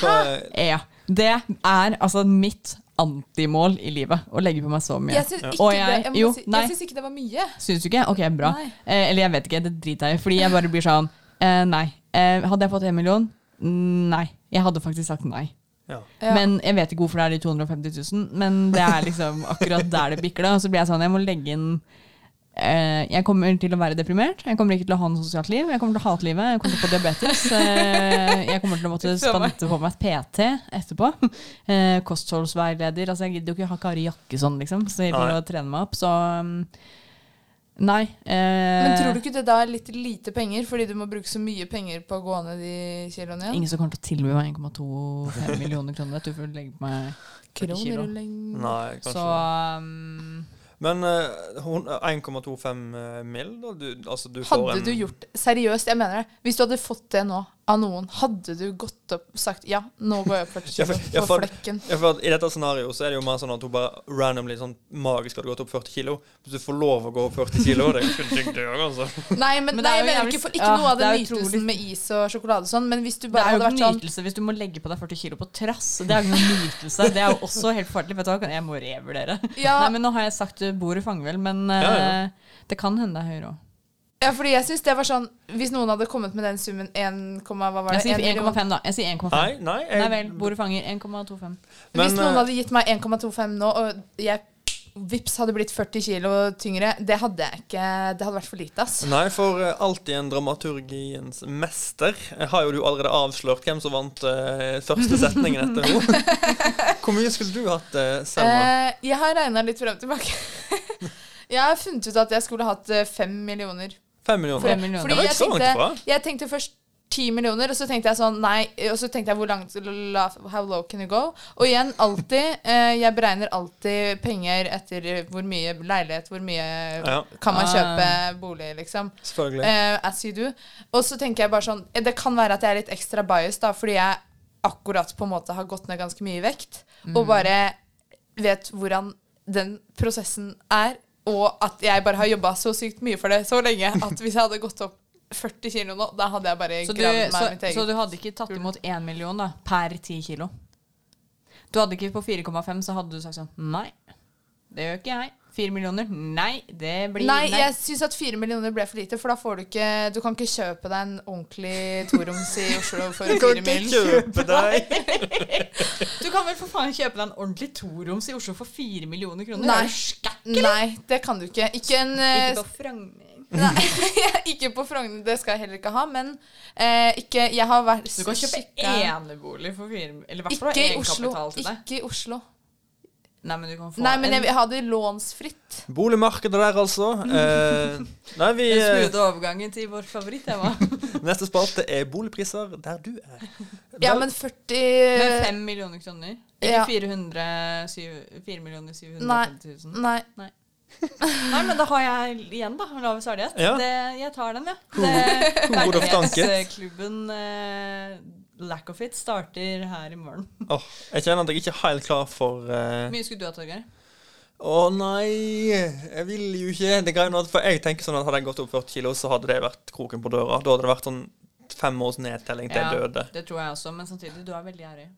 Hva, er-
ja. Det er altså mitt antimål i livet. Å legge på meg så mye.
Jeg syns ikke,
Og
det-
jeg-
jeg må
jo,
si,
nei.
jeg syns ikke det var mye.
Syns du ikke? Ok, bra.
Nei.
Eh, eller jeg vet ikke, det driter jeg i. Fordi jeg bare blir sånn eh, Nei. Eh, hadde jeg fått en million? Nei. Jeg hadde faktisk sagt nei.
Ja.
Men jeg vet ikke hvorfor det er de 250 000, men det er liksom akkurat der det bikker. da. Og så blir jeg sånn, jeg må legge inn eh, Jeg kommer til å være deprimert. Jeg kommer ikke til å ha noe sosialt liv. Jeg kommer til å hate livet. Jeg kommer til å få diabetes. eh, jeg kommer til å måtte spandere på meg et PT etterpå. Eh, kostholdsveileder. Altså, jeg gidder jo ikke ha Kari Jakkesson, liksom, så jeg får
Nei.
å trene meg opp. Så um, nei.
Men
eh,
tror du ikke det da er litt lite penger, fordi du må bruke så mye penger på å gå ned de kiloene igjen?
Ingen som kommer til å tilby meg 1,25 millioner kroner. Jeg tror jeg får legge på meg 40 kilo.
Kronerulling.
Nei, kanskje
Så
ikke.
um,
Men eh, hun- 1,25 mill., eh, da? Du, altså, du får
Hadde
en
du gjort Seriøst, jeg mener det. Hvis du hadde fått det nå av noen, hadde du gått opp sagt ja, nå går jeg opp 40
Ja, for-
kilo
ja,
for
for-
flekken?
ja, for at I dette scenarioet så er det jo mer sånn at hun bare randomly sånn magisk hadde gått opp 40 kilo. Hvis du får lov å gå opp 40 kilo, det er ganske digg, det òg, altså.
Nei, men,
Men det
nei,
er
jeg
jo
mener
jævlig-
ikke, for ikke
ja,
noe av
det
den
er
nytelsen
utrolig-
med is og sjokolade og sånn, men hvis du
Det
bare
er
hadde
jo ikke
vært
noen
sånn
nytelse hvis du må legge på deg 40 kilo på trass. Det er jo ikke noen nytelse. Det er jo også helt forferdelig. Vet du hva, jeg må revurdere.
sånn, Ja.
Nei, men nå har jeg sagt eh, bordet fanger vel, men
ja.
eh, det kan hende det er høyere òg.
Ja, fordi jeg synes det var sånn Hvis noen hadde kommet med den summen 1, hva var det?
Jeg sier
1 million.
1,5, da. Jeg sier 1,5.
Nei, nei.
Nei vel, bordet fanger 1,25.
Hvis noen
eh,
hadde gitt meg 1,25 nå, og jeg vips hadde blitt 40 kilo tyngre, det hadde jeg ikke Det hadde vært for lite, ass.
Nei, for eh, alltid en dramaturgiens mester eh, har jo du allerede avslørt hvem som vant eh, første setningen etter henne. Hvor mye skulle du hatt, eh, Selma?
Eh, jeg har regna litt frem og tilbake. jeg har funnet ut at jeg skulle hatt eh, fem millioner.
Fem millioner?
Fem millioner.
Det var
jeg
ikke så langt
tenkte,
ifra.
jeg tenkte først ti millioner, og så tenkte jeg sånn Nei. Og så tenkte jeg hvor langt la- How low can you go? Og igjen, alltid. Eh, jeg beregner alltid penger etter hvor mye leilighet, hvor mye
Ja.
kan man
Ah.
kjøpe bolig, liksom.
Selvfølgelig.
Eh, as you do. Og så tenker jeg bare sånn eh, Det kan være at jeg er litt ekstra biased, da, fordi jeg akkurat på en måte har gått ned ganske mye i vekt,
Mm.
og bare vet hvordan den prosessen er, og at jeg bare har jobba så sykt mye for det så lenge at hvis jeg hadde gått opp 40 kilo nå, da hadde jeg bare
Så du,
gravd
så,
meg mitt
så
eget.
du hadde ikke tatt imot 1 million da, per 10 kilo? Du hadde ikke på 4,5, så hadde du sagt sånn Nei, det gjør ikke jeg. 4 millioner? Nei, det blir
Nei, jeg syns at fire millioner ble for lite, for da får du ikke Du kan ikke kjøpe deg en ordentlig toroms i Oslo for
Du kan
fire
ikke
mill.
kjøpe deg!
Du kan vel for faen kjøpe deg en ordentlig toroms i Oslo for 4 millioner kroner?
Nei.
Er du skæ-
Nei, det kan du ikke. Ikke en eh,
Ikke på Frogner.
Nei, ikke på Frogner, det skal jeg heller ikke ha, men eh, ikke Jeg har vært
Du kan kjøpe
kikka-
enebolig for 4 Eller i hvert fall
Ikke i Oslo.
egenkapital til deg.
Ikke i Oslo.
Nei, men du kan få
Nei, men jeg
en,
vil ha det lånsfritt.
Boligmarkedet der, altså. Eh, nei, vi
den
eh,
smoothe overgangen til vår favorittema.
Neste spalte er boligpriser der du er.
Ja,
Vel,
men 40
Med 5 millioner kroner.
Eh, Ja.
Ikke 400, syv- 4 millioner 750 000.
Nei.
Nei, men da har jeg igjen, da. Lavest verdighet.
Ja.
Det- Jeg tar den, jeg. Ja.
Hore of tanket.
Verdighetsklubben eh, Lack of It starter her i morgen.
Åh, jeg kjenner at jeg ikke er helt klar for eh,
Hvor mye skulle du ha, Torgeir?
Å nei, jeg vil jo ikke Det greia nå at- For jeg tenker sånn at hadde jeg gått opp 40 kilo, så hadde det vært kroken på døra. Da hadde det vært sånn fem års nedtelling til jeg døde.
det tror jeg også, men samtidig, du er veldig gjerrig.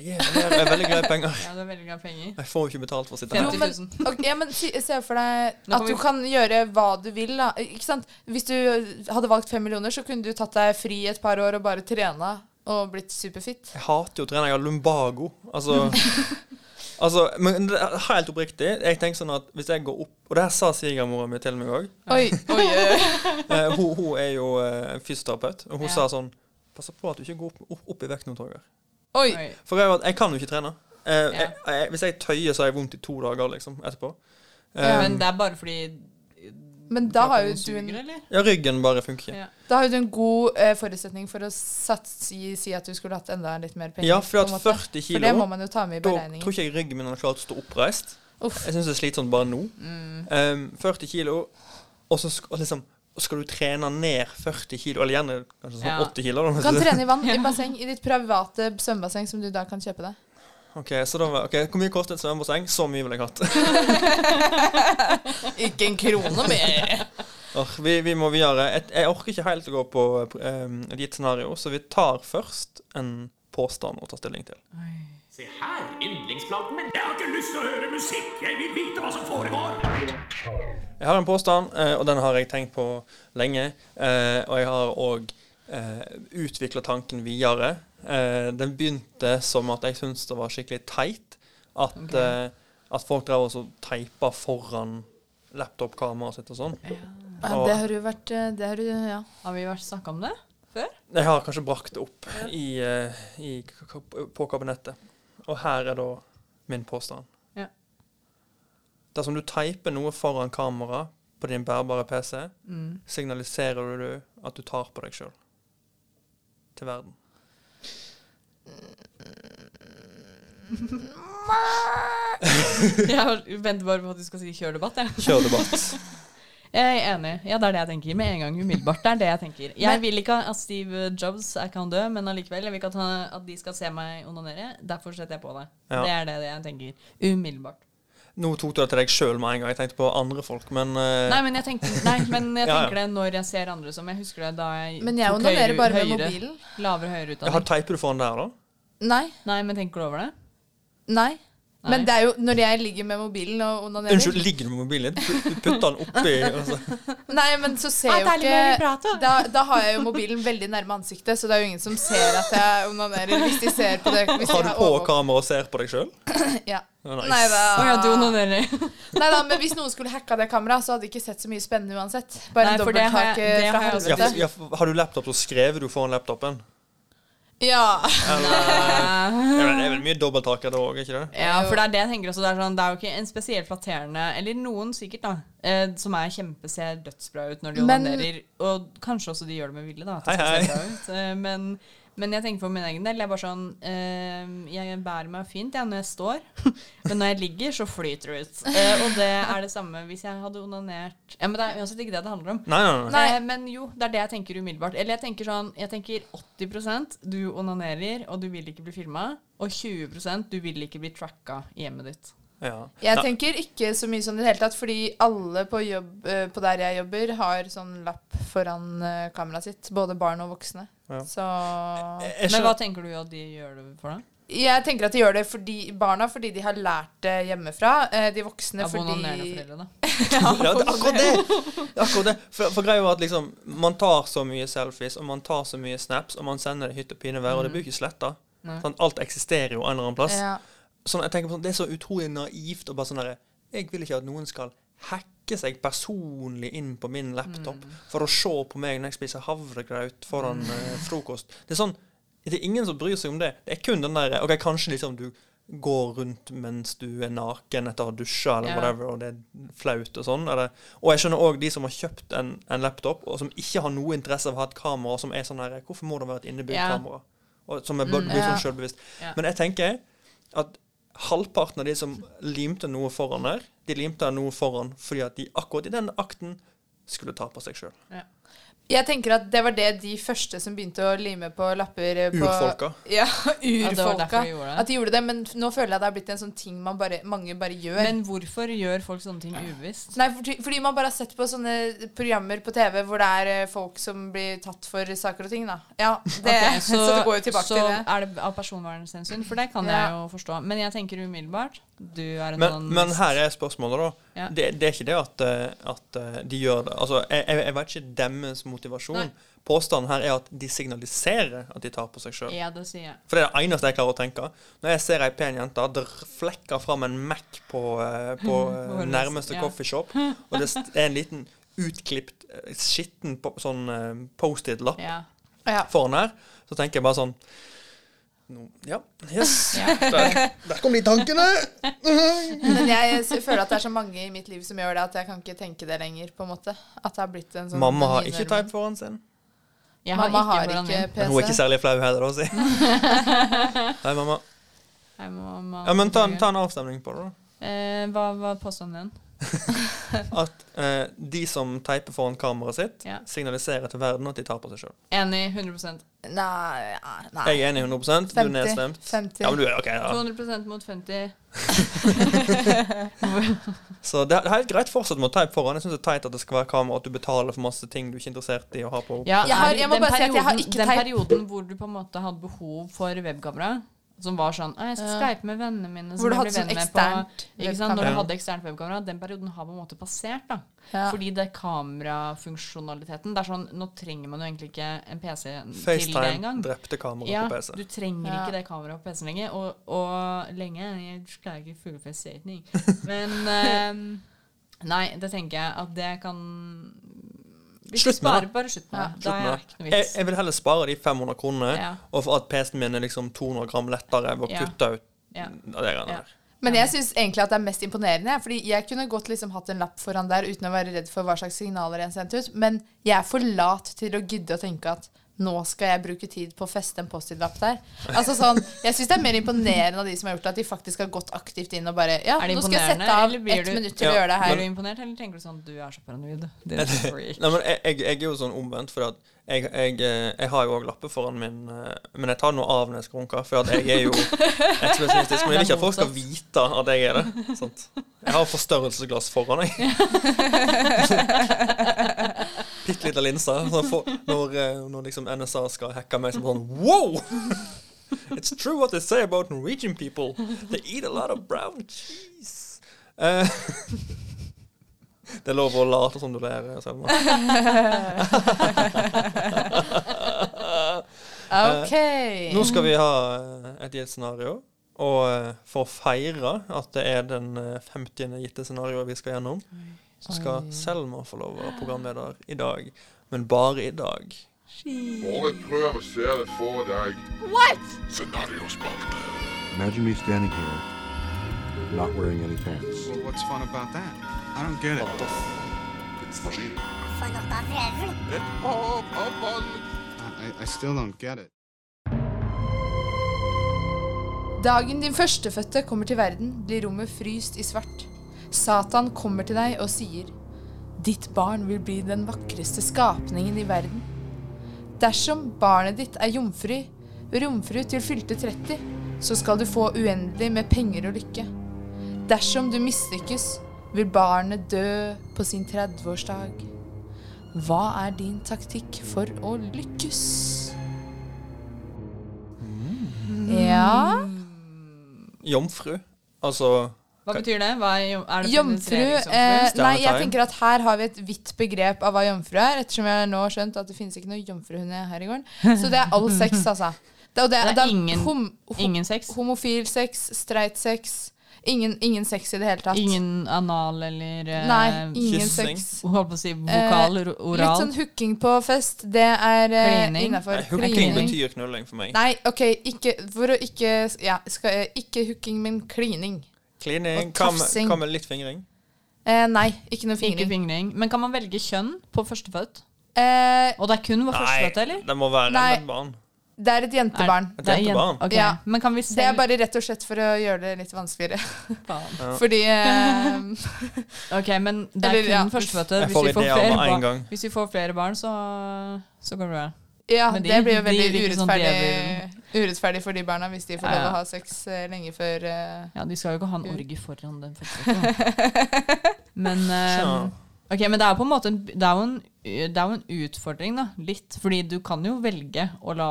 Jeg er, jeg er veldig glad i penger.
Ja, du er veldig glad i penger.
Jeg får jo ikke betalt for å sitte
Jo,
her.
50
men,
000.
ok, ja, men si- se for deg
Nå
at
kan
du
vi-
kan gjøre hva du vil. Da. Ikke sant? Hvis du hadde valgt fem millioner, så kunne du tatt deg fri et par år og bare trena og blitt superfit.
Jeg hater jo å trene. Jeg har lumbago. Altså, altså Men det er helt oppriktig, jeg tenker sånn at hvis jeg går opp Og det her sa svigermora mi til meg òg.
Oi, oi, oi.
Eh, hun, hun er jo eh, fysioterapeut, og hun
Ja.
sa sånn Pass på at du ikke går opp, opp, opp i vekt nå, Torgeir.
oi.
Oi.
For jeg, var- jeg kan jo ikke trene. Eh, jeg, jeg, hvis jeg tøyer, så har jeg vondt i to dager liksom, etterpå. Eh,
Men det er bare fordi
Men da har jo
kroppen
du en
suger, eller?
ja, ryggen bare funker ikke.
Ja.
Da har jo du en god eh, forutsetning for å satse, si, si at du skulle hatt enda litt mer penger.
Ja, for
på en
at
måte. for
40
det må
kilo
man jo ta med i
Da tror
beregningen.
ikke jeg ryggen min hadde klart å stå oppreist.
Uff.
Jeg syns det er slitsomt bare nå. Eh, 40 kilo, og så skal, liksom, skal du trene ned 40 kilo, eller gjerne kanskje sånn
Ja.
80 kilo. Da,
Du kan trene i vann, i basseng, i ditt private svømmebasseng som du da kan kjøpe deg.
Ok, så da, var- ok, Hvor mye kostet et svømmebasseng? Så mye ville jeg hatt.
Ikke en krone mer!
Åh, vi, vi må videre. Et, jeg orker ikke helt å gå på eh, et gitt scenario, så vi tar først en påstand å ta stilling til.
Se her, yndlingsplanten min. Jeg har ikke lyst til å høre musikk. Jeg vil vite hva som foregår.
Jeg har en påstand, eh, og den har jeg tenkt på lenge. eh, og jeg har òg uh, utvikla eh, tanken videre. Eh, den begynte som at jeg syntes det var skikkelig teit at, eh, at folk drev og så teipa foran laptop-kameraet sitt og sånn.
Ja, det har jo vært eh, det har jo, ja.
Har vi vært snakka om det?
Jeg har kanskje brakt det opp i, eh, i, k- k- på kabinettet. Og her er da min påstand.
Ja.
Dersom du teiper noe foran kamera på din bærbare PC,
Mm.
signaliserer du at du tar på deg sjøl. Til verden.
Jeg venter bare på at du skal si kjør debatt, jeg.
Kjør debatt.
Jeg er enig. Ja, det er det jeg tenker. Med en gang umiddelbart. Det er det jeg tenker. Jeg vil ikke at Steve Jobs jeg kan dø, men allikevel. Jeg vil ikke at, han, at de skal se meg onanere. Derfor setter jeg på det.
Ja.
Det er det jeg tenker. Umiddelbart.
Nå tok du det til deg sjøl med en gang. Jeg tenkte på andre folk, men eh,
Nei, men jeg tenker, nei, men jeg
Ja, ja.
tenker det når jeg ser andre som Jeg husker det da jeg
Men jeg
tok
onanerer
høyere-
bare med
høyere-
mobilen.
Lavere høyere
jeg har
utdanning.
teiper du foran der, da?
Nei.
Nei, men tenker du over det?
Nei.
Nei.
Men det er jo når jeg ligger med mobilen og onanerer
Unnskyld, ligger du med mobilen din? Du putter den oppi altså.
Nei, men så ser
Ah,
jo
deilig med
ikke
vibrator.
da, da har jeg jo mobilen veldig nærme ansiktet, så det er jo ingen som ser at jeg onanerer. Hvis de ser på det hvis de
Har du
har
på
overvåk-
kamera og ser på deg sjøl?
Ja.
Nice.
Nei da.
Å ja, du onanerer.
Neida, men hvis noen skulle hacka det kameraet, så hadde de ikke sett så mye spennende uansett. Bare
Nei, for det har jeg-
dobbelthake
det
fra
har jeg også
Ja,
helvete.
for- ja, for- har du laptop, så skrev du foran laptopen.
Ja.
Ja, men det er vel mye dobbelttaker da òg, ikke det?
Ja, for det er det jeg tenker også. Det er, sånn, det er jo ikke en spesielt flatterende Eller noen sikkert, da. Eh, som er kjempe ser dødsbra ut når de
Men-
onanerer. Og kanskje også de gjør det med vilje, da. At det
Hei,
skal se bra ut. Eh, men, men jeg tenker for min egen del. Jeg er bare sånn eh, Jeg bærer meg fint jeg, når jeg står, men når jeg ligger, så flyter det ut. Eh, og det er det samme hvis jeg hadde onanert Ja, men det er uansett ikke det det handler om.
Nei, nei, nei.
Nei. Eh, men jo, det er det jeg tenker umiddelbart. Eller jeg tenker sånn Jeg tenker 80 du onanerer, og du vil ikke bli filma. Og 20 du vil ikke bli tracka i hjemmet ditt.
Ja.
Jeg
Nei.
tenker ikke så mye sånn i det hele tatt, fordi alle på, jobb, eh, på der jeg jobber, har sånn lapp foran eh, kameraet sitt. Både barn og voksne.
Ja.
Så
Jeg
Men hva
skjønner-
tenker du at de gjør det for deg?
Jeg tenker at de gjør det fordi barna fordi de har lært det hjemmefra. eh, De voksne
Av onanerende
fordi
foreldre, da.
ja, det er akkurat det! Det er akkurat det. For, for greia var at liksom, man tar så mye selfies, og man tar så mye snaps, og man sender det i hytt og pine vær, og det blir jo ikke sletta. Sånn, alt eksisterer jo en eller annen plass.
Ja.
Sånn, jeg tenker på sånn, Det er så utrolig naivt og bare sånn derre Jeg vil ikke at noen skal hacke seg personlig inn på min laptop for å se på meg når jeg spiser havregraut foran eh, frokost. Det er sånn Det er ingen som bryr seg om det. Det er kun den derre OK, kanskje liksom du går rundt mens du er naken etter å ha dusja eller
Ja.
whatever, og det er flaut og sånn. Eller, og jeg skjønner òg de som har kjøpt en, en laptop, og som ikke har noe interesse av å ha et kamera, som er sånn her Hvorfor må det være et innebygd
Ja.
kamera? Og, som er, blir
ja.
sånn selvbevisst. Men jeg tenker at halvparten av de som limte noe foran der, de limte noe foran fordi at de akkurat i den akten skulle ta på seg sjøl.
Jeg tenker at det var det de første som begynte å lime på lapper eh, på
Urfolka.
Ja,
det var
urfolka.
derfor de gjorde det.
at de gjorde det, men f- nå føler jeg det har blitt en sånn ting man bare, mange bare gjør.
Men hvorfor gjør folk sånne ting ubevisst?
Nei, fordi, fordi man bare har sett på sånne programmer på TV hvor det er eh, folk som blir tatt for saker og ting, da. Ja, det,
Ok,
så, det går jo tilbake
så
til det.
er det av personvernhensyn, for det kan jeg
Ja.
jo forstå. Men jeg tenker umiddelbart Du er en sånn-
Men, men her er spørsmålet, da.
Ja.
Det, det er ikke det at, eh, at eh, de gjør det. Altså, jeg, jeg, jeg vet ikke deres motivasjon.
Nei.
Påstanden her er at de signaliserer at de tar på seg sjøl.
Ja, det sier jeg.
For det er det eneste jeg klarer å tenke. Når jeg ser ei pen jente det flekker fram en Mac på, eh, på eh, nærmeste
Ja.
coffeeshop, og det st- er en liten utklipt, eh, skitten po- sånn eh, Post-It-lapp
Ja.
Ja.
foran her, så tenker jeg bare sånn nå- Ja, yes.
Ja.
Der, der kom de tankene!
Men jeg s- føler at det er så mange i mitt liv som gjør det, at jeg kan ikke tenke det lenger, på en måte. At det har blitt en sånn
Mamma har
den
ikke
innøvingen.
teip foran sin.
Jeg har
Mamma
ikke
har
hvordan
ikke
min.
Men hun er ikke
PC.
særlig flau heller, da, si. Hei, mamma.
Nei, mamma-
Ja, men ta, en- ta en avstemning på det, da.
Eh, hva var påstanden din?
At eh, de som teiper foran kameraet sitt,
Ja.
signaliserer til verden at de tar på seg sjøl.
Enig. 100
Nei, nei.
Jeg er enig 100 Du er
50,
nedstemt.
50.
Ja, men du er, ok, ja.
200 mot 50.
Så det er det er helt greit fortsatt med å type foran. Jeg synes det er teit at det skal være kamera, at du betaler for masse ting du ikke er interessert i å ha på.
Ja,
Jeg har-
er-
jeg må
den
bare si at jeg har
perioden-
ikke
Den
teip.
perioden hvor du på en måte hadde behov for webkamera, Som var sånn «Å, Jeg skal
Ja.
skype med vennene mine. som
Hvor du
jeg
hadde
ble
sånn
venn med
eksternt
på, ikke sant? Når
webkamera.
du hadde eksternt webkamera. Den perioden har på en måte passert. da.
Ja.
Fordi det kamerafunksjonaliteten det er sånn, Nå trenger man jo egentlig ikke en PC til det
FaceTime
engang.
drepte kameraet
Ja,
på PC.
du trenger
Ja.
ikke det kameraet på PC-en lenger. Og, og lenge Jeg klarer ikke fuglefestsetning. Men eh, Nei, det tenker jeg at det kan Hvis
Slutt
du
med
sparer,
det.
bare slutt med det. Da
Slutt med det.
er det ikke noe
Jeg,
vits.
jeg vil heller spare de 500 kronene,
Ja.
og for at PC-en min er liksom 200 gram lettere ved å
Ja.
kutte ut
Ja.
av det greiene
Ja.
der.
Men jeg syns egentlig at det er mest imponerende. Fordi jeg kunne godt liksom hatt en lapp foran der uten å være redd for hva slags signaler jeg sendte ut. Men jeg er for lat til å gidde å tenke at nå skal jeg bruke tid på å feste en Post-It-lapp der. Altså sånn, Jeg syns det er mer imponerende av de som har gjort det, at de faktisk har gått aktivt inn og bare Ja,
Er det
nå skal jeg
imponerende,
sette av
eller blir
ett
du-
minutt til å
Ja,
gjøre det
Er
her.
du imponert, eller tenker du sånn Du er så paranoid. Din freak.
Nei, men jeg, jeg, jeg er jo sånn omvendt, for at jeg, jeg, eh, jeg har jo òg lapper foran min eh, Men jeg tar noe av når jeg skal runke, for at jeg er jo ekspresjonistisk. Men jeg vil ikke at folk skal vite at jeg er det. Sant? Jeg har forstørrelsesglass foran, jeg. Bitte lita linse. sånn for- Når, eh, når liksom NSA skal hacke meg som sånn Wow! It's true what they say about Norwegian people. They eat a lot of brown cheese. Eh, det er lov å late som du ler, Selma.
Ok.
Nå skal vi ha eh, et gitt scenario. Og eh, for å feire at det er den eh, 50. gitte scenarioet vi skal gjennom, så skal Selma få lov å være programleder i dag. Men bare i dag.
Bare prøv å se det for deg.
Imagine me standing here, not wearing any pants.
What's fun about that? I don't get it.
Et hav av vann.
I, I still don't get it.
Dagen din førstefødte kommer til verden, blir rommet fryst i svart. Satan kommer til deg og sier, ditt barn vil bli den vakreste skapningen i verden. Dersom barnet ditt er jomfru, romfru til fylte 30, så skal du få uendelig med penger og lykke. Dersom du mislykkes, vil barnet dø på sin 30-årsdag. Hva er din taktikk for å lykkes? Ja...
Jomfru. Altså
Hva betyr det? Hva er, jom- er det
Jomfru eh,
penetreringsjomfru?
Nei, jeg
Stjernetegn.
tenker at her har vi et vidt begrep av hva jomfru er, ettersom jeg nå har skjønt at det finnes ikke noe jomfruhund her i gården. Så det er all sex, altså. Det, og det,
Det er
det er
ingen-
hom, hom,
Ingen sex?
homofil sex, streit sex ingen, ingen sex i det hele tatt.
Ingen anal eller eh,
Nei, ingen
kyssing.
sex.
Holdt på å si vokal, ro-
Litt
oral.
sånn hooking på fest, det er uh,
Klining.
innafor.
nei, Hooking
klining.
betyr knulling for meg.
Nei, OK, ikke, for å ikke Ja, skal, jeg- ikke hooking, men klining.
Klining.
Og
Hva med-
tafsing.
hva med litt fingring?
Eh, nei, ikke noe
Ikke
fingring.
fingring. Men kan man velge kjønn på førstefødt?
Eh,
Og det er kun vår førstefødte, eller?
det må være
Nei.
et barn.
det er et jentebarn.
Et
Det er
jentebarn.
jen- ok.
Ja.
Men kan vi
Det er
selv
bare rett og slett for å gjøre det litt vanskeligere.
Faen.
Fordi eh,
Ok, men det er
Eller, ja.
kun førstefødte.
Jeg
Hvis
får
vi får
ideer med
flere
en
barn,
gang.
hvis vi får flere barn så, så går det bra.
Ja,
Men de-
det blir jo
de
veldig
blir ikke sånn
urettferdig, urettferdig for de barna hvis de får
Ja,
lov
ja.
å ha sex eh, lenge før eh,
Ja, De skal jo ikke ha en orgie foran den førstefødte. Men eh,
Tja.
Ok, men det er på en måte en, det er jo en, det er jo en utfordring, da. Litt. Fordi du kan jo velge å la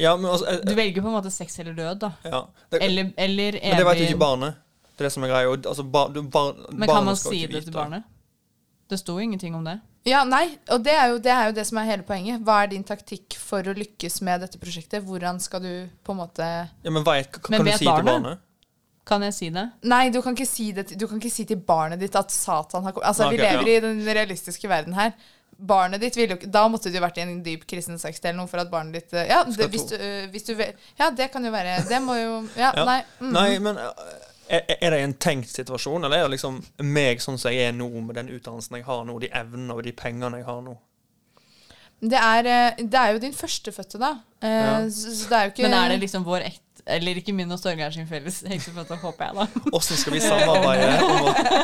Ja, men altså
Du
eh,
velger på en måte sex eller død, da.
ja. det,
Eller, eller evig
Men det vet jo ikke barnet. Det er det som er greia. og Altså, bar, du, bar,
Men kan
barnet
man
skal
si
ikke
det til
vite.
barnet? Det sto ingenting om det.
Ja, nei, og det er, jo, det er jo det som er hele poenget. Hva er din taktikk for å lykkes med dette prosjektet? Hvordan skal du på en måte
Ja, men vet, kan,
Men
kan du
vet
si til
barnet?
barnet?
Kan jeg si det?
Nei, du kan ikke si, det, til- du kan ikke si til barnet ditt at Satan har kommet Altså,
Ok,
vi lever i den realistiske verden her. Barnet ditt ville jo ikke Da måtte du jo vært i en dyp kristen sekt eller noe for at barnet ditt eh, Ja, det,
Skal
hvis, du,
to-
eh, hvis du vil Ja, det kan jo være Det må jo Ja,
Ja.
nei. Mm.
Nei, men eh, er, er det en tenkt situasjon, eller er det liksom meg sånn som jeg er nå, med den utdannelsen jeg har nå, de evnene og de pengene jeg har nå?
Det er, eh, det er jo din førstefødte, da. Eh,
Ja.
Så så det er jo ikke
Men er det liksom vår ett Eller ikke min og Torgeir sin felles heksefødte, håper jeg, da.
Åssen skal vi samarbeide? Om å,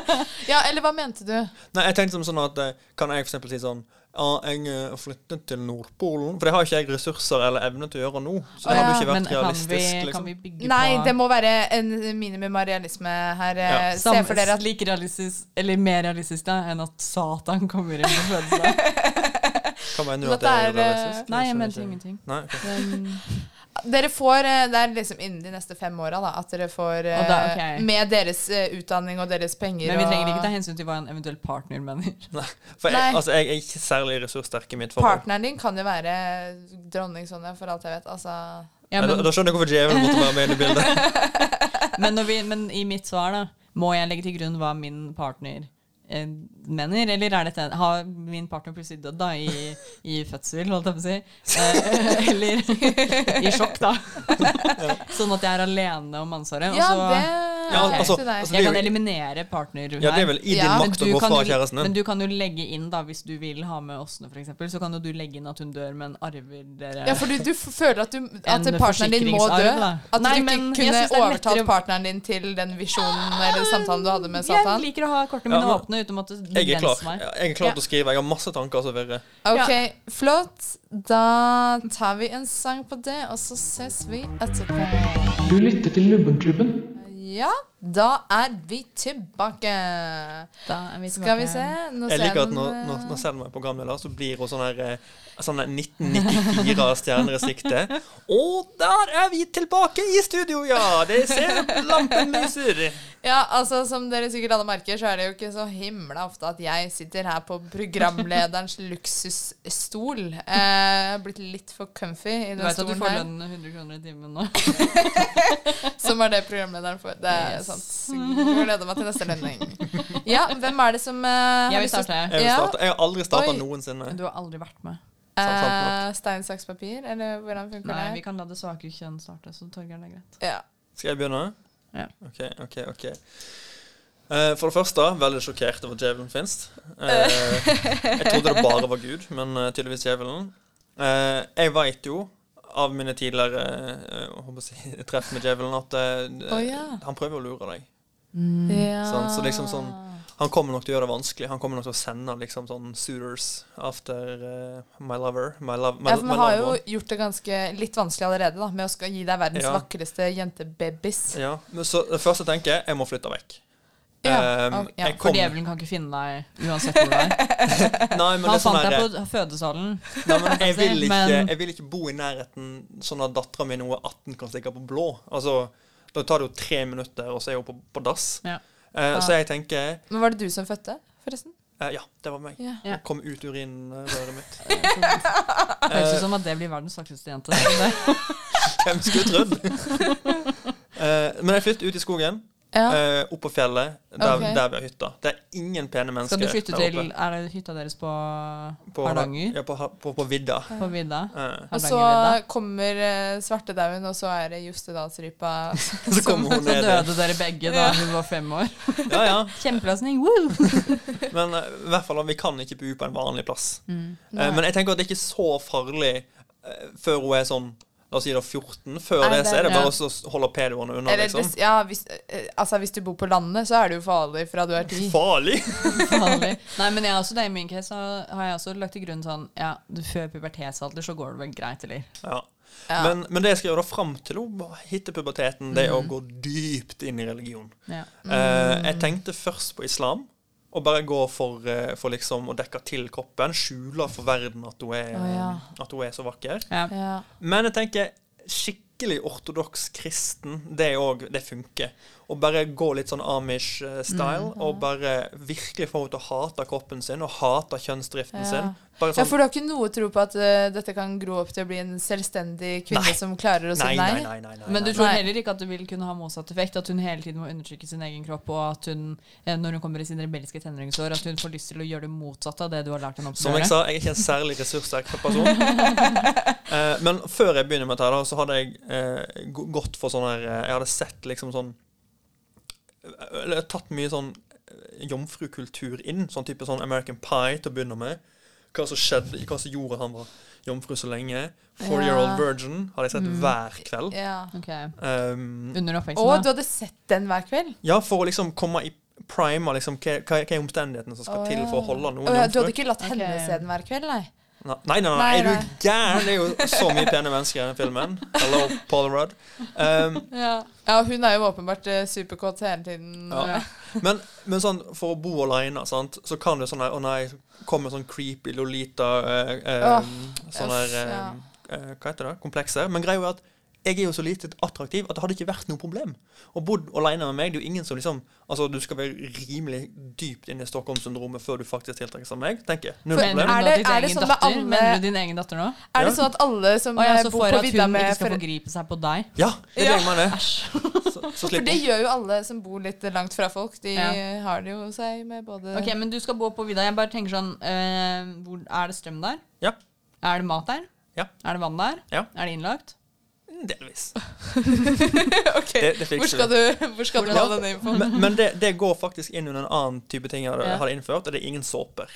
Ja, eller hva mente du?
nei, jeg tenkte som sånn at eh, Kan jeg for eksempel si sånn Ja, jeg eh, flyttet til Nordpolen. For det har ikke jeg ressurser eller evne til å gjøre nå. Så det hadde jo ikke
Men
vært
kan vi,
realistisk.
kan
liksom.
vi bygge
Nei,
på
det må være en minimum av realisme her. eh,
Ja.
Se for dere at
like realistisk, eller mer realistisk da, enn at Satan kommer inn på fødselen.
Hva mener du
Men
at det er
det er, eh,
realistisk?
Nei, jeg
skjønner
mente
ikke.
ingenting.
Nei, ok.
Men,
Dere får, eh, Det er liksom innen de neste fem åra da, at dere får eh,
Og da- ok.
Med deres eh, utdanning og deres penger
Men vi trenger
og
ikke ta hensyn til hva en eventuell partner mener.
For jeg,
Nei.
altså, jeg er ikke særlig ressurssterk i mitt forhold.
Partneren din kan jo være dronning Sonja, for alt jeg vet. Altså
Ja,
Nei, da, da skjønner jeg hvorfor djevelen måtte være med i bildet.
men, når vi, men i mitt svar, da, må jeg legge til grunn hva min partner eh, mener? Eller er dette har min partner plutselig dødd da, i, i fødsel, holdt jeg på å si? Eh, eller i sjokk, da. sånn at jeg er alene om ansvaret.
Ja,
og så,
det
Ja,
er
altså-
opp til deg.
altså- det
jeg
er
kan
jo-
eliminere partner
Ja, det er vel i din
Ja.
Men
makt
du
å gå
kan
fra
jo-
kjæresten
Men
din.
du kan jo legge inn, da, hvis du vil ha med Åsne, for eksempel, så kan jo du legge inn at hun dør, men arver dere
Ja, for du, du f- føler at, du, at
En
partneren din må dø?
forsikringsarv, da.
At
Nei,
du ikke
men jeg
kunne
synes det er
overtalt
lettere- Ah,
partneren din til den visjonen eller samtalen du hadde med
Jeg
Satan?
liker å ha kortene
Ja,
mine
men-
åpne uten å måtte
Jeg er klar.
begrense meg.
Jeg er klar til å skrive. Jeg har masse tanker som virrer.
Ok, flott. Da tar vi en sang på det, og så ses vi etterpå.
Du lytter til Lubbenklubben.
Ja, da er vi tilbake.
Da er vi
Skal vi
tilbake.
se Nå
Jeg
ser
liker at
den,
når,
eh,
når, når Selma er programleder, så blir hun sånn her eh, sånn der 1994 stjerner i sikte. Og der er vi tilbake i studio, ja! Det ser lampen lyser.
Ja, altså Som dere sikkert alle merker, så er det jo ikke så himla ofte at jeg sitter her på programlederens luksusstol. Eh, blitt litt for comfy i
Du
den
vet at du
stolen
får
her.
lønn 100 kroner i timen nå.
Som er det programlederen får. Det er
Yes.
sant. Jeg gleder meg til neste lønning. Ja, hvem er det som eh, har
Jeg vil
lyst til å-
Jeg,
starte.
vil
Ja.
starte. jeg har aldri starta
Oi.
noensinne.
Men du har aldri vært med.
Sant, sant nok.
Eh, Stein, saks, papir? Eller hvordan funker
Nei, vi
det?
kan la det svake kjønn starte, så Torgeir, det er greit.
Ja.
Skal jeg begynne?
Ja.
OK, OK. ok. Eh, for det første, veldig sjokkert over at djevelen fins. jeg trodde det bare var Gud, men eh, tydeligvis djevelen. Eh, jeg veit jo av mine tidligere eh, håper å si, treff med djevelen at eh,
Å, ja.
han prøver å lure deg.
ja.
Sant, så liksom sånn,
Ah.
han kommer nok til å gjøre det vanskelig. Han kommer nok til å sende liksom sånn suitors after eh, my lover. My love, my,
Ja, for
my
Man har
loved
jo
one.
gjort det ganske litt vanskelig allerede da, med å skal gi deg verdens
Ja.
vakreste jentebabys.
ja, men Så det første jeg tenker, jeg må flytte vekk.
Ja,
Ehm,
ok, ja,
jeg
For
kom-
djevelen kan ikke finne deg uansett hvor du er.
Nei, men det
Han
er sånn
fant
her- eh,
deg på fødesalen.
Nei, men jeg vil ikke,
Men-
jeg vil ikke bo i nærheten sånn at dattera mi nå er 18 kan stikke på blå. Altså, Da tar det jo tre minutter, og så er hun på, på dass.
Ja.
Eh, så jeg tenker
Men var det du som fødte, forresten?
eh, Ja, det var meg.
Ja.
Ja.
Det Kom ut urinrøret mitt.
Høres ut som at det blir verdens vakreste jente. Det-
Hvem skulle trodd? Eh, men jeg flytter ut i skogen,
Ja.
eh, opp på fjellet, der,
Ok.
der vi har hytta. Det er ingen pene mennesker
Skal du flytte
der
til
oppe.
Er det hytta deres på
På-
Hardanger?
Ja, på, Ha- på, på vidda.
På vidda?
Eh,
Og så
Hardangervidda?
kommer eh, svartedauden, og så er det Jostedalsrypa.
så kommer hun
Så
ned.
døde dere begge da hun var fem år.
Ja, ja.
Kjempeløsning! Woo!
Men eh, i hvert fall, vi kan ikke bo på en vanlig plass. Eh, men jeg tenker at det er ikke så farlig eh, før hun er sånn La oss si da 14. Før
Nei,
det så er det
det- ja.
bare å s- holde pedoene unna,
Eller
liksom.
hvis, ja, hvis, eh, altså, hvis du bor på landet, så er det jo farlig fra du er ti.
Farlig!
Vanlig. Nei, men jeg har også det i min case så har jeg også lagt til grunn sånn Ja, du- før pubertetsalder så går det vel greit, eller?
Ja. Men, men det jeg skal gjøre da fram til hun hitter puberteten, det er å gå dypt inn i religion.
Ja.
Eh, jeg tenkte først på islam, og bare gå for, eh, for liksom å dekke til kroppen. Skjule for verden at hun er,
ja.
at hun er så vakker.
Ja.
Ja.
Men jeg tenker skikkelig ortodoks kristen, det òg, det funker. Å bare gå litt sånn Amish-style, og bare virkelig få henne til å hate kroppen sin, og hate kjønnsdriften
Ja.
sin. Bare
Ja,
sånn
for du har ikke noe tro på at eh, dette kan gro opp til å bli en selvstendig kvinne
Nei.
som klarer å si
nei,
nei?
nei, nei, nei, nei.
Men du
nei.
tror
Nei.
heller ikke at det vil kunne ha motsatt effekt? At hun hele tiden må undertrykke sin egen kropp, og at hun, eh, når hun kommer i sine rebelliske tenåringsår, at hun får lyst til å gjøre det motsatte av det du har lært henne opp til
Som
å
jeg
gjøre?
sa, jeg er ikke en særlig ressurssterk person. Eh, men før jeg begynner med dette, her da, så hadde jeg eh, gå- gått for sånn her eh, Jeg hadde sett liksom sånn Eller tatt mye sånn eh, jomfrukultur inn. Sånn type sånn American Pie til å begynne med. Hva som skjedde, hva som gjorde han var jomfru så lenge. Four Year Old
Ja. Mm.
Virgin hadde jeg sett hver kveld.
Ja.
Ok.
Um,
Under
Å,
oppveksten,
du
da.
hadde sett den hver kveld?
ja, for å liksom komme i prima liksom, hva, hva hva er omstendighetene som
Å,
skal til for å holde
Å
noen
ja, du
jomfru.
hadde ikke latt henne
Ok.
se den hver kveld, nei?
Nei, nei, nei,
Nei,
er du
nei.
gæren? Det er jo så mye pene mennesker i denne filmen. Hello, Paul Rudd. Um,
Ja, ja hun er jo åpenbart eh, superkåt hele tiden.
ja. men, men sånn, for å bo alene, sant, så kan det sånn her Å nei, kommer sånn creepy Lolita eh, eh,
Åh,
Sånn her eh, eh, Hva heter det? Komplekser. Men greia er at jeg er jo så lite attraktiv at det hadde ikke vært noe problem. Og bodd alene med meg, det er jo ingen som liksom Altså, du skal være rimelig dypt inne i Stockholm-syndromet før du faktisk tiltrekker seg meg, tenker jeg. Null
For
problem.
er det- er det sånn med alle-
Mener du din egen datter nå?
Er det
Ja.
sånn at alle som
Å ja,
eh,
så
bor
for
på
at hun
vidda med
ikke skal
foreldre
forgripe seg på deg?
Ja, det
Ja.
trenger man det. Så, så
For
slipper
det gjør jo alle som bor litt langt fra folk. De
Ja.
har det jo seg med både
Ok, men du skal bo på vidda. Jeg bare tenker sånn eh, hvor, Er det strøm der?
Ja.
Er det mat der?
Ja.
Er det vann der?
Ja.
Er det innlagt?
Delvis.
Ok,
Det- det fikk
hvor skal du, hvor skal du ha
Hvordan-
denne infoen?
Men, men det, det går faktisk inn under en annen type ting jeg hadde,
Ja.
hadde innført, og det er ingen såper.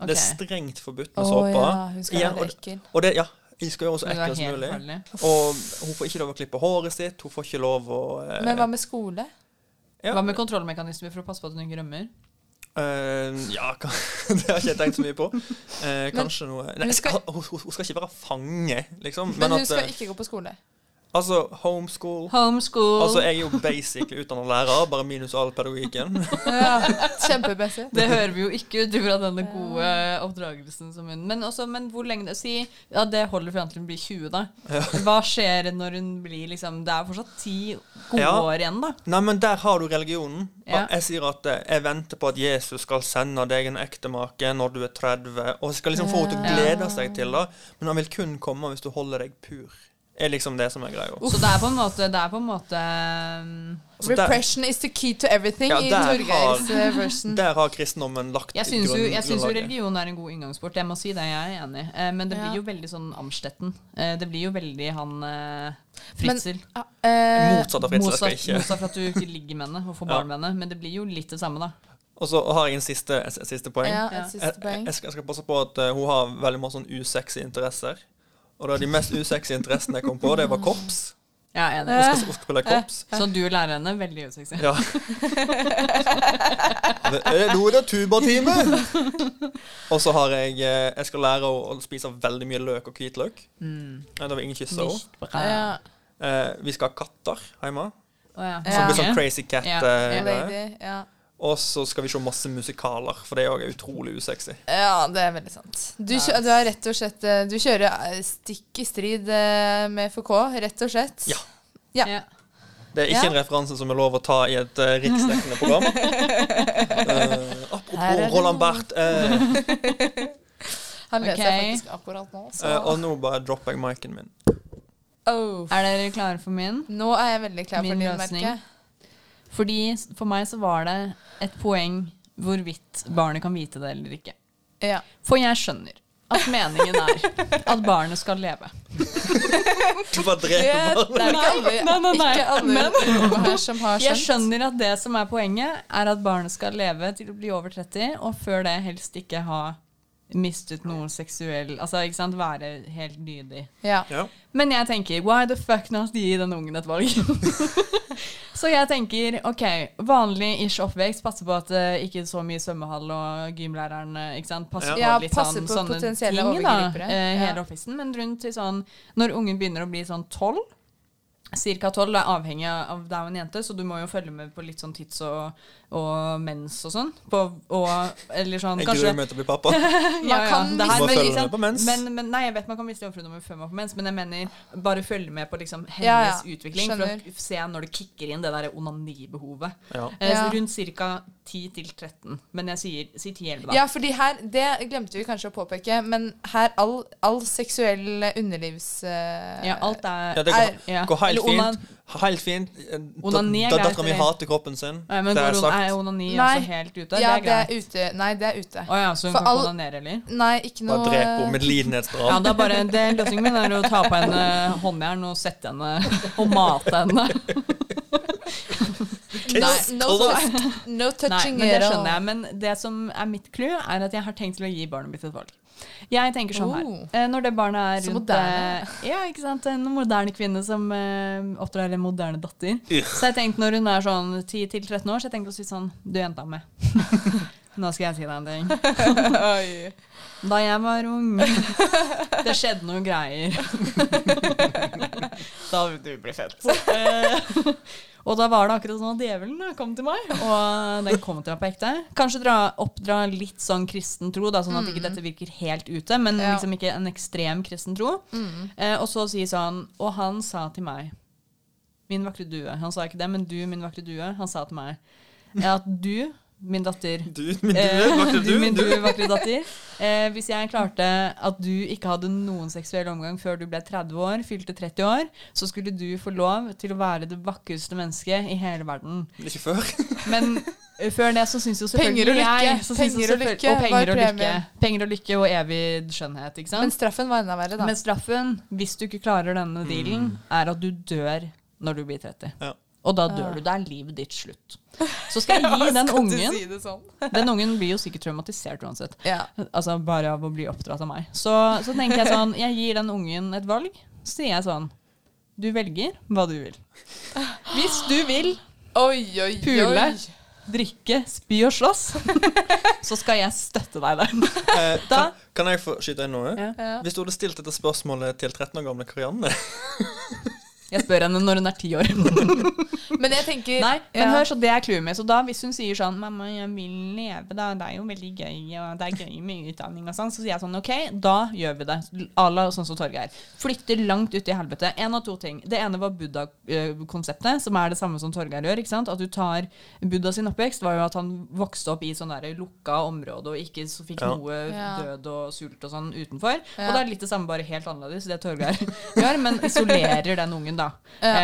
Ok.
Det er strengt forbudt med
Å
såper.
ja, hun skal
Igjen,
være
og,
ekkel.
og det, ja, de skal gjøre så
Men det er
ekkel som
helt
mulig.
forferdelig.
Og hun får ikke lov å klippe håret sitt, hun får ikke lov å eh,
Men hva med skole?
Ja.
Hva med kontrollmekanismer for å passe på at hun ikke rømmer?
eh, ja, kan- det har ikke jeg tenkt så mye på. Eh, kanskje noe Nei,
hun skal-
ha- hun, hun skal ikke være fange, liksom. Men,
Men hun
at
skal
eh,
ikke gå på skole.
Altså, homeschool
Homeschool.
Altså, jeg er jo basically utdannet lærer, bare minus all pedagogikken.
Kjempemessig.
Det hører vi jo ikke ut fra denne gode oppdragelsen som hun Men, også, men hvor lenge Si ja, det holder fram til hun blir 20, da. Hva skjer når hun blir liksom Det er fortsatt ti gode
Ja.
år igjen, da.
Nei, men der har du religionen.
Ja.
Jeg sier at eh, jeg venter på at Jesus skal sende deg en ektemake når du er 30, og skal liksom få henne til å glede seg til det, men han vil kun komme hvis du holder deg pur. Er liksom det som er greia.
Så det er på en måte, det er på en måte um,
Så der,
Repression is the key to everything
Ja,
i
der har-
Torgeirs eh, version.
der har kristendommen lagt
Jeg syns jo, jeg
grunn-
syns jo
grunnlaget.
religion er en god inngangsport. Jeg må si det, jeg er enig. Eh, Men det blir
Ja.
jo veldig sånn Amstetten. Eh, Det blir jo veldig han eh,
Men-
Fritzel.
Ah, eh,
Motsatt av Fritzel. Jeg
Motsatt
skal ikke
motsatt for at du ikke ligger med henne og får
Ja.
barn med henne. Men det blir jo litt det samme, da.
Og så har jeg en siste, et, et siste poeng.
ja,
Ja.
et
Jeg,
siste
jeg,
poeng.
jeg, skal, jeg skal passe på at eh, hun har veldig mange sånn usexy interesser. Og da de mest usexy interessene jeg kom på, det var korps.
Ja, jeg er
Hun
enig.
skal spille korps.
Så du lærer henne veldig usexy.
Ja. Eh, Nå er det tubatime! Og så har jeg eh, Jeg skal lære å, å spise veldig mye løk og hvitløk.
Mm.
Eh, Det var ingen kysser henne.
Ja.
Ja,
Eh, vi skal ha katter hjemme.
Å, ja.
Ja.
Som blir sånn crazy cat.
Ja.
eh, greie.
lady. Ja.
Og så skal vi se masse musikaler, for det er òg utrolig usexy.
Ja, det er veldig sant. Du, kjø du har rett og slett eh, Du kjører eh, stikk i strid eh, med FK, rett og slett.
Ja.
Ja.
Ja.
Det er ikke
Ja.
en referanse som er lov å ta i et uh, riksdekkende program. Eh,
Her er det
apropos Roland Barth. eh,
Han leser
Ok.
faktisk akkurat nå. Så.
eh, og nå bare dropper jeg miken min.
Oh.
Er dere klare for min?
Nå er jeg veldig klar
Min
for din
løsning.
merke.
Fordi s- for meg så var det et poeng hvorvidt barnet kan vite det eller ikke.
Ja.
For jeg skjønner at meningen er at barnet skal leve.
Du bare
Det
dreper
er ikke alle,
Nei, nei, nei.
Ikke alle
Men-
ungdommer her som har
Jeg
skjønt.
skjønner at det som er poenget, er at barnet skal leve til å bli over 30, og før det helst ikke ha mistet noe seksuell Altså, ikke sant, være helt dydig.
Ja.
Ja.
Men jeg tenker, why the fuck not gi den ungen et valg? så jeg tenker, ok, vanlig ish oppvekst, passe på at uh, ikke så mye svømmehall og gymlæreren, eh, ikke sant, passe
Ja.
på litt
Ja, passe
sånn,
på
sånne
potensielle
ting da,
overgripere.
eh, hele
Ja.
oppveksten, men rundt til sånn, når ungen begynner å bli sånn 12, cirka 12 er avhengig av det er jo en jente, så du må jo følge med på litt sånn tids og, og mens og sånn, på, og, eller sånn,
Jeg
kanskje
gruer meg til å bli pappa.
ja, ja.
kan
det her,
miste- Bare
men,
følge
ikke
med på mens.
sant? liksom men, men, Nei, jeg vet man kan miste jomfrunummer før man får mens, men jeg mener bare følge med på liksom hennes
Ja, ja.
utvikling for
Skjønner.
å se når det kicker inn det der onanibehovet.
Ja.
Eh,
Ja.
så Rundt ca. 10 til 13, men jeg sier, sier 10-11, da.
Ja, fordi her, Det glemte vi kanskje å påpeke, men her all, all seksuell underlivs... eh,
Ja, alt er
Ja, det går,
er- ja.
går helt
Eller onan-
fint. Helt fint.
Onani er
Da
greit,
dattera mi
eller?
hater kroppen sin.
Nei, men
det
går
er
on-
sagt.
er onani
Nei.
også helt ute?
ja,
det er greit.
ute. Nei, det er ute.
Å ja, så hun
For
kan ikke
all-
onanere, eller?
Nei, ikke
Bare
noe
drep henne med
Ja,
lidenhetsdrap.
det er bare, det, Løsningen min er å ta på henne håndjern og sette henne og mate henne.
Nei,
Kiss
no,
close.
touch- no
Nei,
touching
men det
at all.
skjønner jeg. Men det som er mitt clou, er at jeg har tenkt til å gi barnet mitt et valg. Jeg tenker sånn her.
Oh.
eh, Når det barnet er
Så
rundt
moderne.
eh, Ja, ikke sant. En moderne kvinne som eh, oppdrar en moderne datter. Så jeg tenkte når hun er sånn 10-13 år, så jeg tenkte å si sånn Du jenta mi. Nå skal jeg si deg en ting.
Oi.
Da jeg var ung Det skjedde noen greier. da vil du bli fett. Eh, Og da var det akkurat sånn at djevelen kom til meg, og eh, den kom til meg på ekte. Kanskje dra, oppdra litt sånn kristen tro, da, sånn at ikke dette virker helt ute, men
Mm. Ja.
liksom ikke en ekstrem kristen tro.
Mm.
Eh, og så si sånn Og han sa til meg Min vakre due. Han sa ikke det, men du, min vakre due, han sa til meg eh, at du, min datter
Du, min due, vakre
Eh, du,
due,
min
du.
due, vakre datter. Eh, hvis jeg klarte at du ikke hadde noen seksuell omgang før du ble 30 år, fylte 30 år, så skulle du få lov til å være det vakreste mennesket i hele verden.
Ikke før.
Men eh, før det så syns jo selvfølgelig
Penger og lykke.
jeg så syns jo
Penger og
selvfølgelig-
lykke
og penger
var
og lykke.
premien.
Penger og lykke og evig skjønnhet, ikke sant?
Men straffen var enda verre, da.
Men straffen, hvis du ikke klarer denne dealen, er at du dør når du blir 30. Og da dør
Ja.
du. Da er livet ditt slutt. Så skal jeg gi
Skal
den
du
ungen
si det sånn?
Den ungen blir jo sikkert traumatisert uansett.
Ja.
Altså Bare av å bli oppdratt av meg. Så, så tenker jeg sånn Jeg gir den ungen et valg. Så sier jeg sånn Du velger hva du vil. Hvis du vil pule, drikke, spy og slåss, så skal jeg støtte deg der.
Eh, kan, kan jeg få skyte inn noe?
Ja.
Hvis du hadde stilt dette spørsmålet til 13 år gamle Karianne
Jeg spør henne når hun er ti år.
Men jeg tenker
Nei, men
ja.
hør, sånn, så det er clouet mitt. Så da, hvis hun sier sånn 'Mamma, jeg vil leve, da. Det er jo veldig gøy, og det er gøy med utdanning', og sånn, så sier jeg sånn 'OK, da gjør vi det'. À la sånn som Torgeir. Flytter langt ut i helvete. En av to ting. Det ene var Buddha-konseptet, som er det samme som Torgeir gjør. ikke sant? At du tar Buddha sin oppvekst var jo at han vokste opp i sånn der lukka område og ikke så fikk
Ja.
noe
Ja.
død og sult og sånn utenfor.
Ja.
Og det er litt det samme, bare helt annerledes, det Torgeir gjør, men isolerer den ungen, da.
Ja.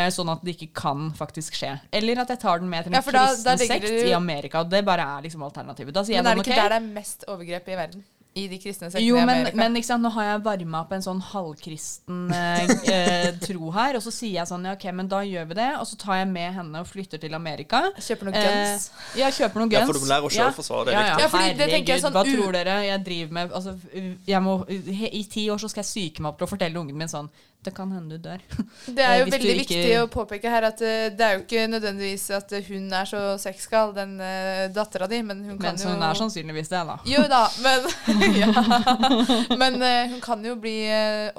Eh, sånn at det ikke kan faktisk skje. Eller at jeg tar den med til en
Ja, for da- da
kristen
ligger
sekt
det jo-
i Amerika. og Det bare er liksom alternativet. Da sier
Men er
jeg sånn,
det ikke der
ok.
det er mest overgrep i verden? I de kristne sektene
jo,
i
men,
Amerika?
men ikke sant, nå har jeg varma opp en sånn halvkristen eh, eh, tro her. Og så sier jeg sånn, ja, ok, men da gjør vi det. Og så tar jeg med henne og flytter til Amerika.
Kjøper noen guns.
Eh, ja, kjøper noen
Ja,
guns.
for du lærer å selvforsvare, det er
Ja, ja,
riktig.
ja,
Ja,
fordi det tenker jeg
herregud,
sånn
hva
u-
tror dere jeg driver med? Altså, jeg må, he- I ti år så skal jeg syke meg opp til å fortelle ungen min sånn, det kan hende du dør.
Det er jo
Hvis du
veldig
ikke-
viktig å påpeke her at eh, det er jo ikke nødvendigvis at eh, hun er så sexgal, den uh, dattera di, men hun kan
Men
jo
hun er sånn. sannsynligvis det, da.
Jo da, men ja. Men eh, hun kan jo bli eh,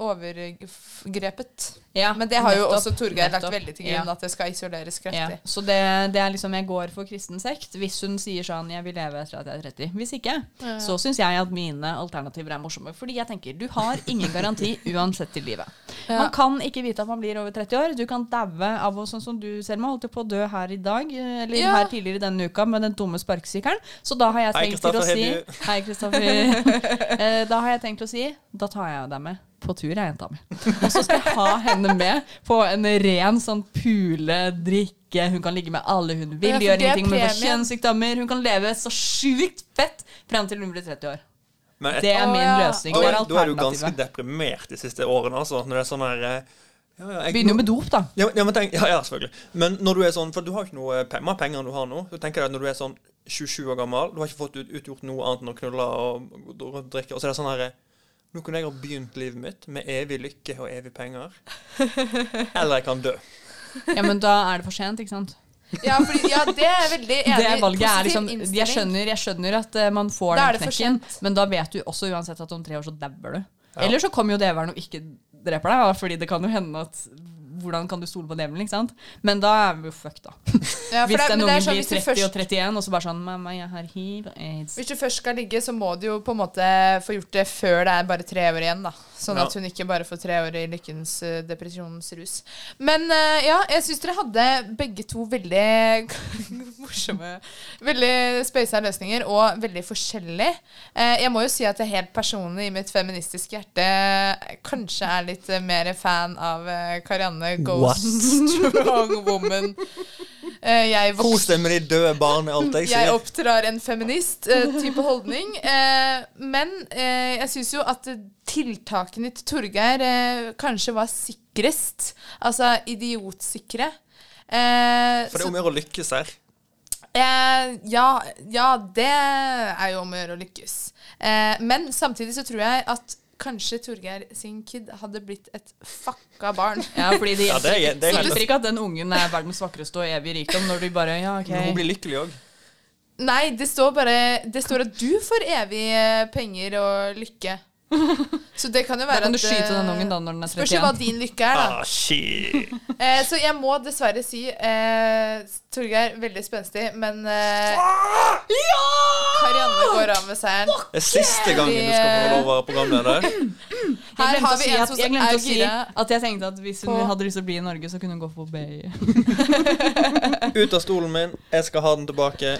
overgrepet.
Ja,
men det har jo
nettopp,
også Torgeir lagt
nettopp,
veldig til grunn,
ja.
at det skal isoleres
Ja,
kraftig.
så det, det er liksom jeg går for kristen sekt hvis hun sier sånn 'jeg vil leve etter at jeg er 30'. Hvis ikke,
Ja.
så syns jeg at mine alternativer er morsomme. Fordi jeg tenker du har ingen garanti uansett i livet.
Ja.
Man kan ikke vite at man blir over 30 år. Du kan daue av å sånn som du, Selma, holdt jo på å dø her i dag, eller
Ja.
her tidligere denne uka med den dumme sparkesykkelen. Så da har jeg
Hei,
tenkt til å
Kristoffer,
si
hei, du.
Hei, Kristoffer. Eh, da har jeg tenkt å si da tar jeg deg med på tur, jeg, jenta mi. Og så skal jeg ha henne med på en ren sånn puledrikke. Hun kan ligge med alle hun vil,
Ja, for
gjøre
det er
ingenting
premien.
med kjønnssykdommer. Hun kan leve så sjukt fett frem til hun blir 30 år.
Men et-
Det er min Å, ja. løsning,
Da
det er
er, da er du ganske
alternativet.
deprimert de siste årene, altså. Når det er sånn her eh, ja, ja, jeg-
Begynner jo med dop, da.
Ja, men- ja, men tenk, ja, ja, selvfølgelig. Men når du er sånn, for du har ikke noe eh, pe- mer penger enn du har nå. Så tenker jeg at når du er sånn 27 år gammel, du har ikke fått ut, utgjort noe annet enn å knulle og, og, og drikke, og så er det sånn her eh, Nå kunne jeg ha begynt livet mitt med evig lykke og evig penger. Eller jeg kan dø.
Ja, men da er det for sent, ikke sant?
Ja, fordi, ja det er jeg veldig enig.
Det
i.
valget er
Positiv
liksom, jeg,
innstilling.
skjønner, jeg skjønner at eh, man får
Da er
den
det for
knekken, men da vet du også uansett at om tre år så dauer du.
Ja.
Eller så kommer jo djevelen og ikke dreper deg, da, fordi det kan jo hende at hvordan kan du stole på djevelen? ikke sant? Men da er vi jo fucked, da.
Ja, for
hvis
det er-
den
men det er
ungen
sånn
blir
hvis du
30 og
først-
31, og så bare sånn Mamma, jeg har hiv og aids.
Hvis du først skal ligge, så må du jo på en måte få gjort det før det er bare tre år igjen, da. Sånn
Ja.
at hun ikke bare får tre år i lykkens eh, depresjonens rus. Men eh, ja, jeg syns dere hadde begge to veldig morsomme Veldig spøysa løsninger, og veldig forskjellig. Eh, jeg må jo si at jeg helt personlig i mitt feministiske hjerte eh, kanskje er litt eh, mer fan av eh, Karianne Goes Strong Woman. Eh, jeg vokste
Kos deg med de døde barna, alt jeg
jeg
sier.
oppdrar en feminist eh, type holdning. Eh, men eh, jeg syns jo at eh, tiltakene til Torgeir eh, kanskje var sikrest. Altså idiotsikre. Eh,
For det er
så-
om å gjøre å lykkes her.
Eh, ja, ja, det er jo om å gjøre å lykkes. Eh, men samtidig så tror jeg at kanskje Torgeir sin kid hadde blitt et fucka barn.
Ja, fordi det
Ja,
hjelper,
det er- det er
ikke-
helt-
det hjelper ikke at den ungen er verdens vakreste og evig rikdom når du bare Ja, OK.
Men hun blir lykkelig òg.
Nei, det står bare Det står at du får evig eh, penger og lykke. Så det kan jo
Da
være
kan du
at,
skyte
eh,
den ungen da når den er
Spørs jo hva
31.
din lykke er, da.
Ah, shit.
Eh, så jeg må dessverre si eh, Torgeir, veldig spenstig, men eh, Karianne går av med seieren.
Det er siste gangen du skal få lov å være programleder.
Her
Jeg glemte,
har
å
vi
si,
en
at,
som
jeg glemte
er
å si
gira.
at jeg tenkte at hvis hun
på-
hadde lyst til å bli i Norge, så kunne hun gå på BI.
Ut av stolen min. Jeg skal ha den tilbake.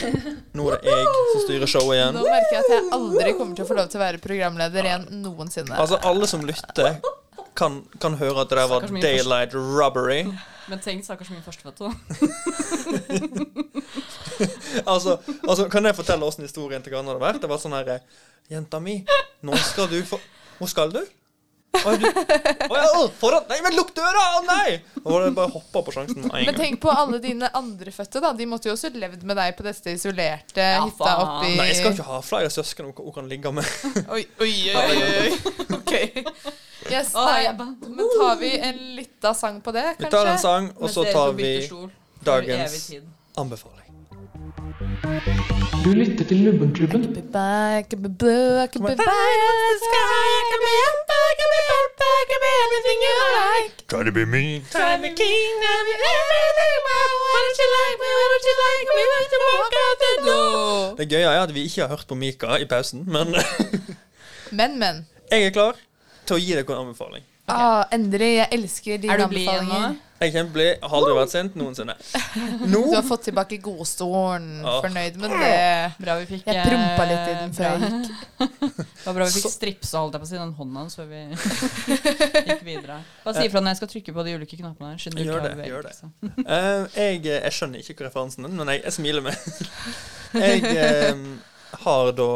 Nå er det jeg som styrer showet igjen.
Nå merker jeg at jeg aldri kommer til å få lov til å være programleder igjen noensinne.
Altså, alle som lytter, kan, kan høre at det der var
Stakkars min
daylight robbery.
Men tenk stakkars min førstefødte. da.
Altså, altså, kan jeg fortelle åssen historien til Karianne hadde vært? Det var sånn her Jenta mi, nå skal du få Hvor skal du? Å, du... Å, ja, å, foran Nei, men lukk døra! Å, nei! Og det bare hoppa på sjansen med en
Men
gang.
tenk på alle dine andrefødte, da. De måtte jo også levd med deg på dette isolerte hytta
faen.
oppi
Nei, jeg skal ikke ha flere søsken hun kan- hun kan ligge med.
Oi, oi, oi. oi, oi. Ok. Yes,
Å,
nei,
jeg bare-
men tar vi en lita sang på det,
Vi tar en
kanskje?
sang, og så tar vi dagens anbefaling.
Du lytter til Lubbenklubben.
Be back, be blue, I can be right up the sky, I can be up, I can be up, I can be everything you like.
Try to be mean.
Try me king, I'm everything you want. Why don't you like me, why don't you like me, why don't you walk out the door?
Det gøye er at vi ikke har hørt på Mika i pausen, men
Men, men.
jeg er klar til å gi dere en anbefaling.
Ah, Endre, jeg elsker dine
Er du blid igjen nå?
anbefalinger.
Jeg kan bli, har aldri vært sint noensinne.
Du
Nå
har fått tilbake godstolen.
Åh.
Fornøyd med det.
Bra vi fikk
Jeg prompa litt i den før
bra.
jeg gikk.
Det var bra vi fikk stripsa holdt jeg på å si, den hånda hans før vi gikk videre. Bare si ifra når jeg skal trykke på de ulike knappene. her, siden du liksom.
Gjør
ikke har
det, gjør det.
bevegelse.
Eh, jeg, jeg skjønner ikke referansen, men jeg, jeg smiler med. jeg eh, har da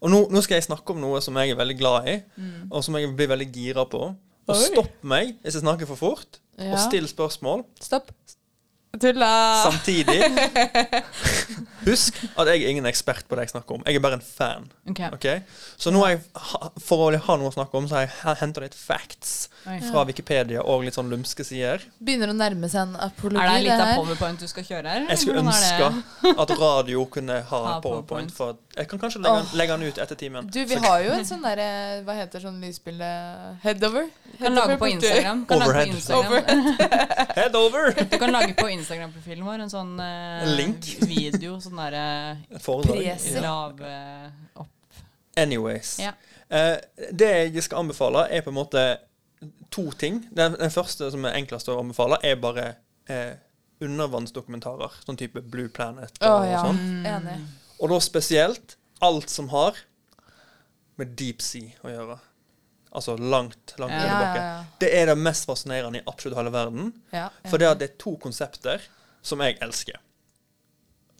Og nå, nå skal jeg snakke om noe som jeg er veldig glad i, og som jeg blir veldig gira på. Og stopp meg hvis jeg snakker for fort,
Ja.
og still spørsmål
Stopp. Tulla.
samtidig. Husk at jeg er ingen ekspert på det jeg snakker om. Jeg er bare en fan.
Ok.
ok? Så nå har jeg, ha- for å ha noe å snakke om, så har jeg henta litt facts
Oi.
fra Wikipedia og litt sånn lumske sider.
Begynner å nærme seg en apologi.
Er det en
det
liten
her.
powerpoint du skal kjøre her?
Jeg skulle
Hvordan er det?
ønske at radio kunne ha
Ha
powerpoint.
PowerPoint.
For at- jeg kan kanskje legge, den- legge den ut etter timen.
Du, vi har jo en sånn derre Hva heter sånn lysbilde Headover?
Kan lage på Instagram. Kan lage
Overhead.
på Instagram.
Head over!
Du kan lage på Instagram-profilen vår en sånn eh,
Link.
video. Sånn derre
Foredrag.
Preser.
lav eh, opp.
Anyways.
Ja.
Eh, det jeg skal anbefale, er på en måte to ting. Den, den første som er enklest å anbefale, er bare eh, undervannsdokumentarer. Sånn type Blue Planet
Å
og,
ja.
sånn.
Enig.
Og da spesielt alt som har med deep sea å gjøre. Altså langt, langt
Ja.
ned i
Ja, ja,
bakken.
ja.
Det er det mest fascinerende i absolutt hele verden.
Ja,
For det at det er to konsepter som jeg elsker.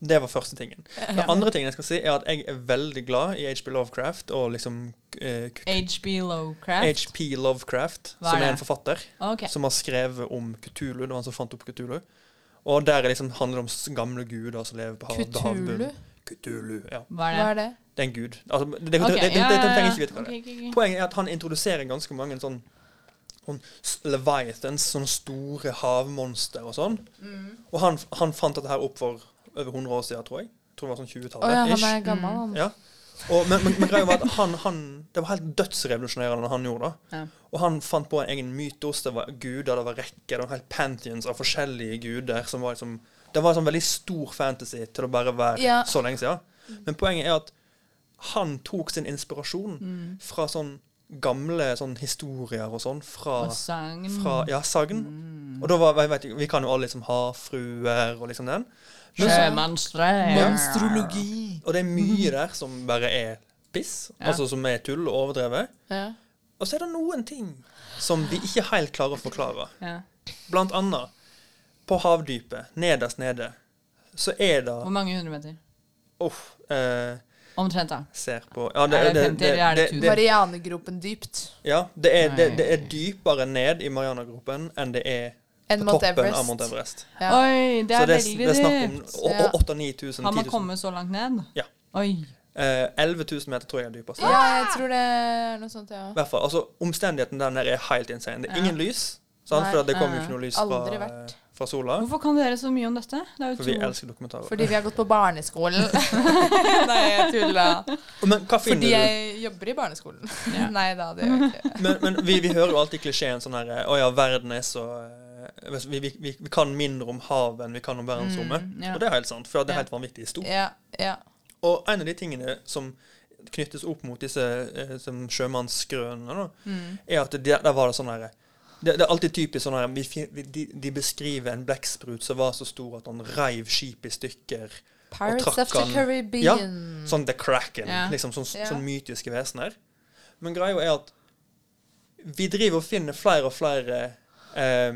Det var første tingen. Den andre tingen jeg skal si, er at jeg er veldig glad i HB Lovecraft og liksom eh, k-
HB Lowcraft.
HP Lovecraft,
Hva er
som er
det?
en forfatter
Ok.
som har skrevet om Kutulu. Det var han som fant opp Kutulu. Og der er liksom, handler det om s- gamle guder som lever på hav-
Cthulhu?
havbunnen. Kutulu? Ja.
Hva
Hva er det?
er det?
Det er en gud. Altså, det, det,
Ok,
det, det, det,
ja, ja, ja.
trenger ikke vite hva det er.
Ok, ok, ok.
Poenget er at han introduserer ganske mange sånn sånn s- Leviathans, sånne store havmonster og sånn.
Mm.
Og han, han fant dette her opp for over 100 år siden, tror jeg. Tror det var sånn
Å ja,
20-tallet.
han er
ish. Mm.
gammel, han. altså.
ja. og, men, men, men greia var at han, han Det var helt dødsrevolusjonerende når han gjorde det.
Ja.
Og han fant på en egen mytos. Det var guder, det var rekker, det var helt pantheons av forskjellige guder som var liksom Det var en sånn veldig stor fantasy til å bare være
Ja.
så lenge siden. Men poenget er at han tok sin inspirasjon fra sånn gamle sånn historier og sånn fra,
Og sagn.
fra ja, sagn. Og da var jeg vet, ikke, Vi kan jo alle liksom havfruer og liksom den. Men så,
Sjømannstre.
og det er mye der som bare er piss,
Ja.
altså som er tull og overdrevet.
Ja.
Og så er det noen ting som vi ikke helt klarer å forklare.
Ja.
Blant annet på havdypet, nederst nede, så er det
Hvor mange hundre meter?
Uff. eh,
Omtrent, da.
ser på ja,
Er det 50, eller er det 1000?
Marianegropen dypt.
Ja, det er, det,
Nei.
det er dypere ned i Marianagropen enn det er
Enn
på
Mount
toppen av Mount
Everest.
Everest.
Ja.
Oi, det
Så
er
det, er-
veldig
det er snakk om
dypt.
å- å- 8000-9000-10
Har man
000.
kommet så langt ned?
Ja.
Oi.
Eh, 11 000 meter tror jeg er dypest.
Ja, jeg tror det er noe sånt, ja.
I hvert fall, altså Omstendigheten der nede er helt insane. Det er ingen lys, Sant?
Nei,
For det kommer jo ikke
eh,
noe lys fra,
aldri vært.
fra sola.
Hvorfor kan dere så mye om dette? Det er jo
For vi
to-
elsker dokumentarer.
Fordi vi har gått på barneskolen. Nei, jeg tulla.
Men hva finner
Fordi
du?
jeg jobber i barneskolen. Nei da, det gjør jeg ikke.
Men, men vi, vi hører jo alltid klisjeen sånn her Å ja, verden er så eh, vi, vi, vi, vi kan mindre om havet enn vi kan om verdensrommet.
Mm, ja.
Og det er helt sant, for det
Ja.
er helt vanvittig stort.
Ja, ja.
Og en av de tingene som knyttes opp mot disse eh, som sjømannsgrønene, da,
Mm.
er at det- der var det sånn herre det, det er alltid typisk sånn her vi fin- vi- de, de beskriver en blekksprut som var så stor at han reiv skipet i stykker. og
Pirates
trakk
of the
han-
Caribbean.
Ja, sånn The Kraken.
Mm. Ja.
Liksom sånn,
Ja.
sånn mytiske vesener. Men greia er at vi driver og finner flere og flere eh,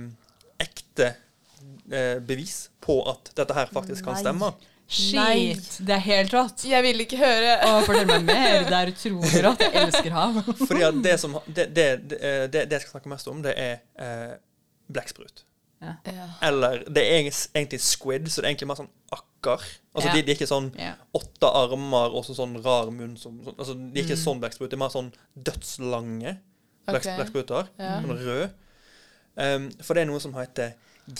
ekte eh, bevis på at dette her faktisk kan
Nei.
stemme.
Nei.
Shit, det er helt rått.
Jeg vil ikke høre.
Å, fortell meg mer. Det er utrolig rått. Jeg elsker hav.
Fordi
Mm.
at det som det, det, det, eh, det, det jeg skal snakke mest om, det er eh, blekksprut.
Ja.
Ja.
Eller det er egen- egentlig squid, så det er egentlig mer sånn akkar. Altså
Ja.
de, de er ikke sånn
Ja.
åtte armer og så sånn rar munn som sånn, altså, De er ikke
Mm.
sånn blekksprut. De er mer sånn dødslange
Ok.
blekks- blekkspruter.
Ja.
Sånn rød. Um, for det er noe som heter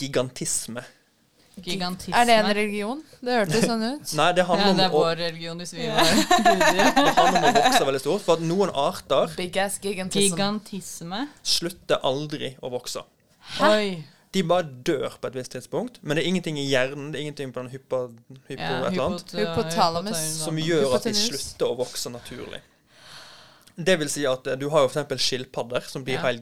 gigantisme.
Gigantisme.
Er det en religion? Det hørtes sånn ut.
Nei, det
Ja, det
handler om,
er
å,
vår religion hvis vi var guder.
det handler om å vokse veldig stort. For at noen arter
Big ass gigantism.
Gigantisme.
slutter aldri å vokse.
Oi.
De bare dør på et visst tidspunkt, men det er ingenting i hjernen det er ingenting på den hypo, hypo et eller annet,
hypot-
Hypotalamus.
hypotyreon.
som gjør at de
hypotenus.
slutter å vokse naturlig. Det vil si at eh, du har jo for eksempel skilpadder som blir
Ja.
helt,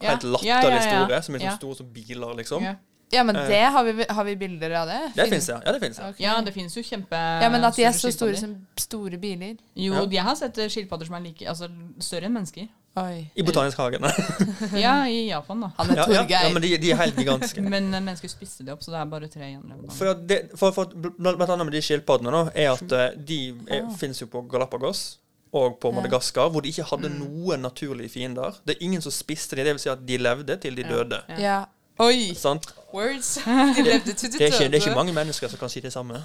Ja.
helt
Ja, ja,
latterlig
ja.
store, som er
Ja.
liksom store som biler, liksom.
Ja.
Ja, men
Eh.
det har vi, har vi bilder av det?
Det fins, ja. ja, det finnes, ja.
Ok.
Ja, det finnes jo kjempe...
Ja, men at de er så store
skilpadder.
som store biler.
Jo,
Ja.
jeg har sett eh, skilpadder som er like, altså, større enn mennesker.
Oi.
I Botanisk hage. Nei.
Ja, i Japan, da.
Han er
Ja, ja, ja,
Torgeir.
men de, de er helt gigantiske.
Men eh, mennesker spiste de opp, så det er bare tre gjenlevende.
For, at det, for, for at bl- Blant annet med de skilpaddene da, er at eh, de er,
Ah.
finnes jo på Galapagos og på Madagaskar, hvor de ikke hadde
Mm.
noen naturlige fiender. Det er ingen som spiste de, det vil si at de levde til de døde.
Ja.
Ja. Oi!
Sant?
Words. De levde til de
Det, er ikke, det er ikke
døde.
mange mennesker som kan si det samme.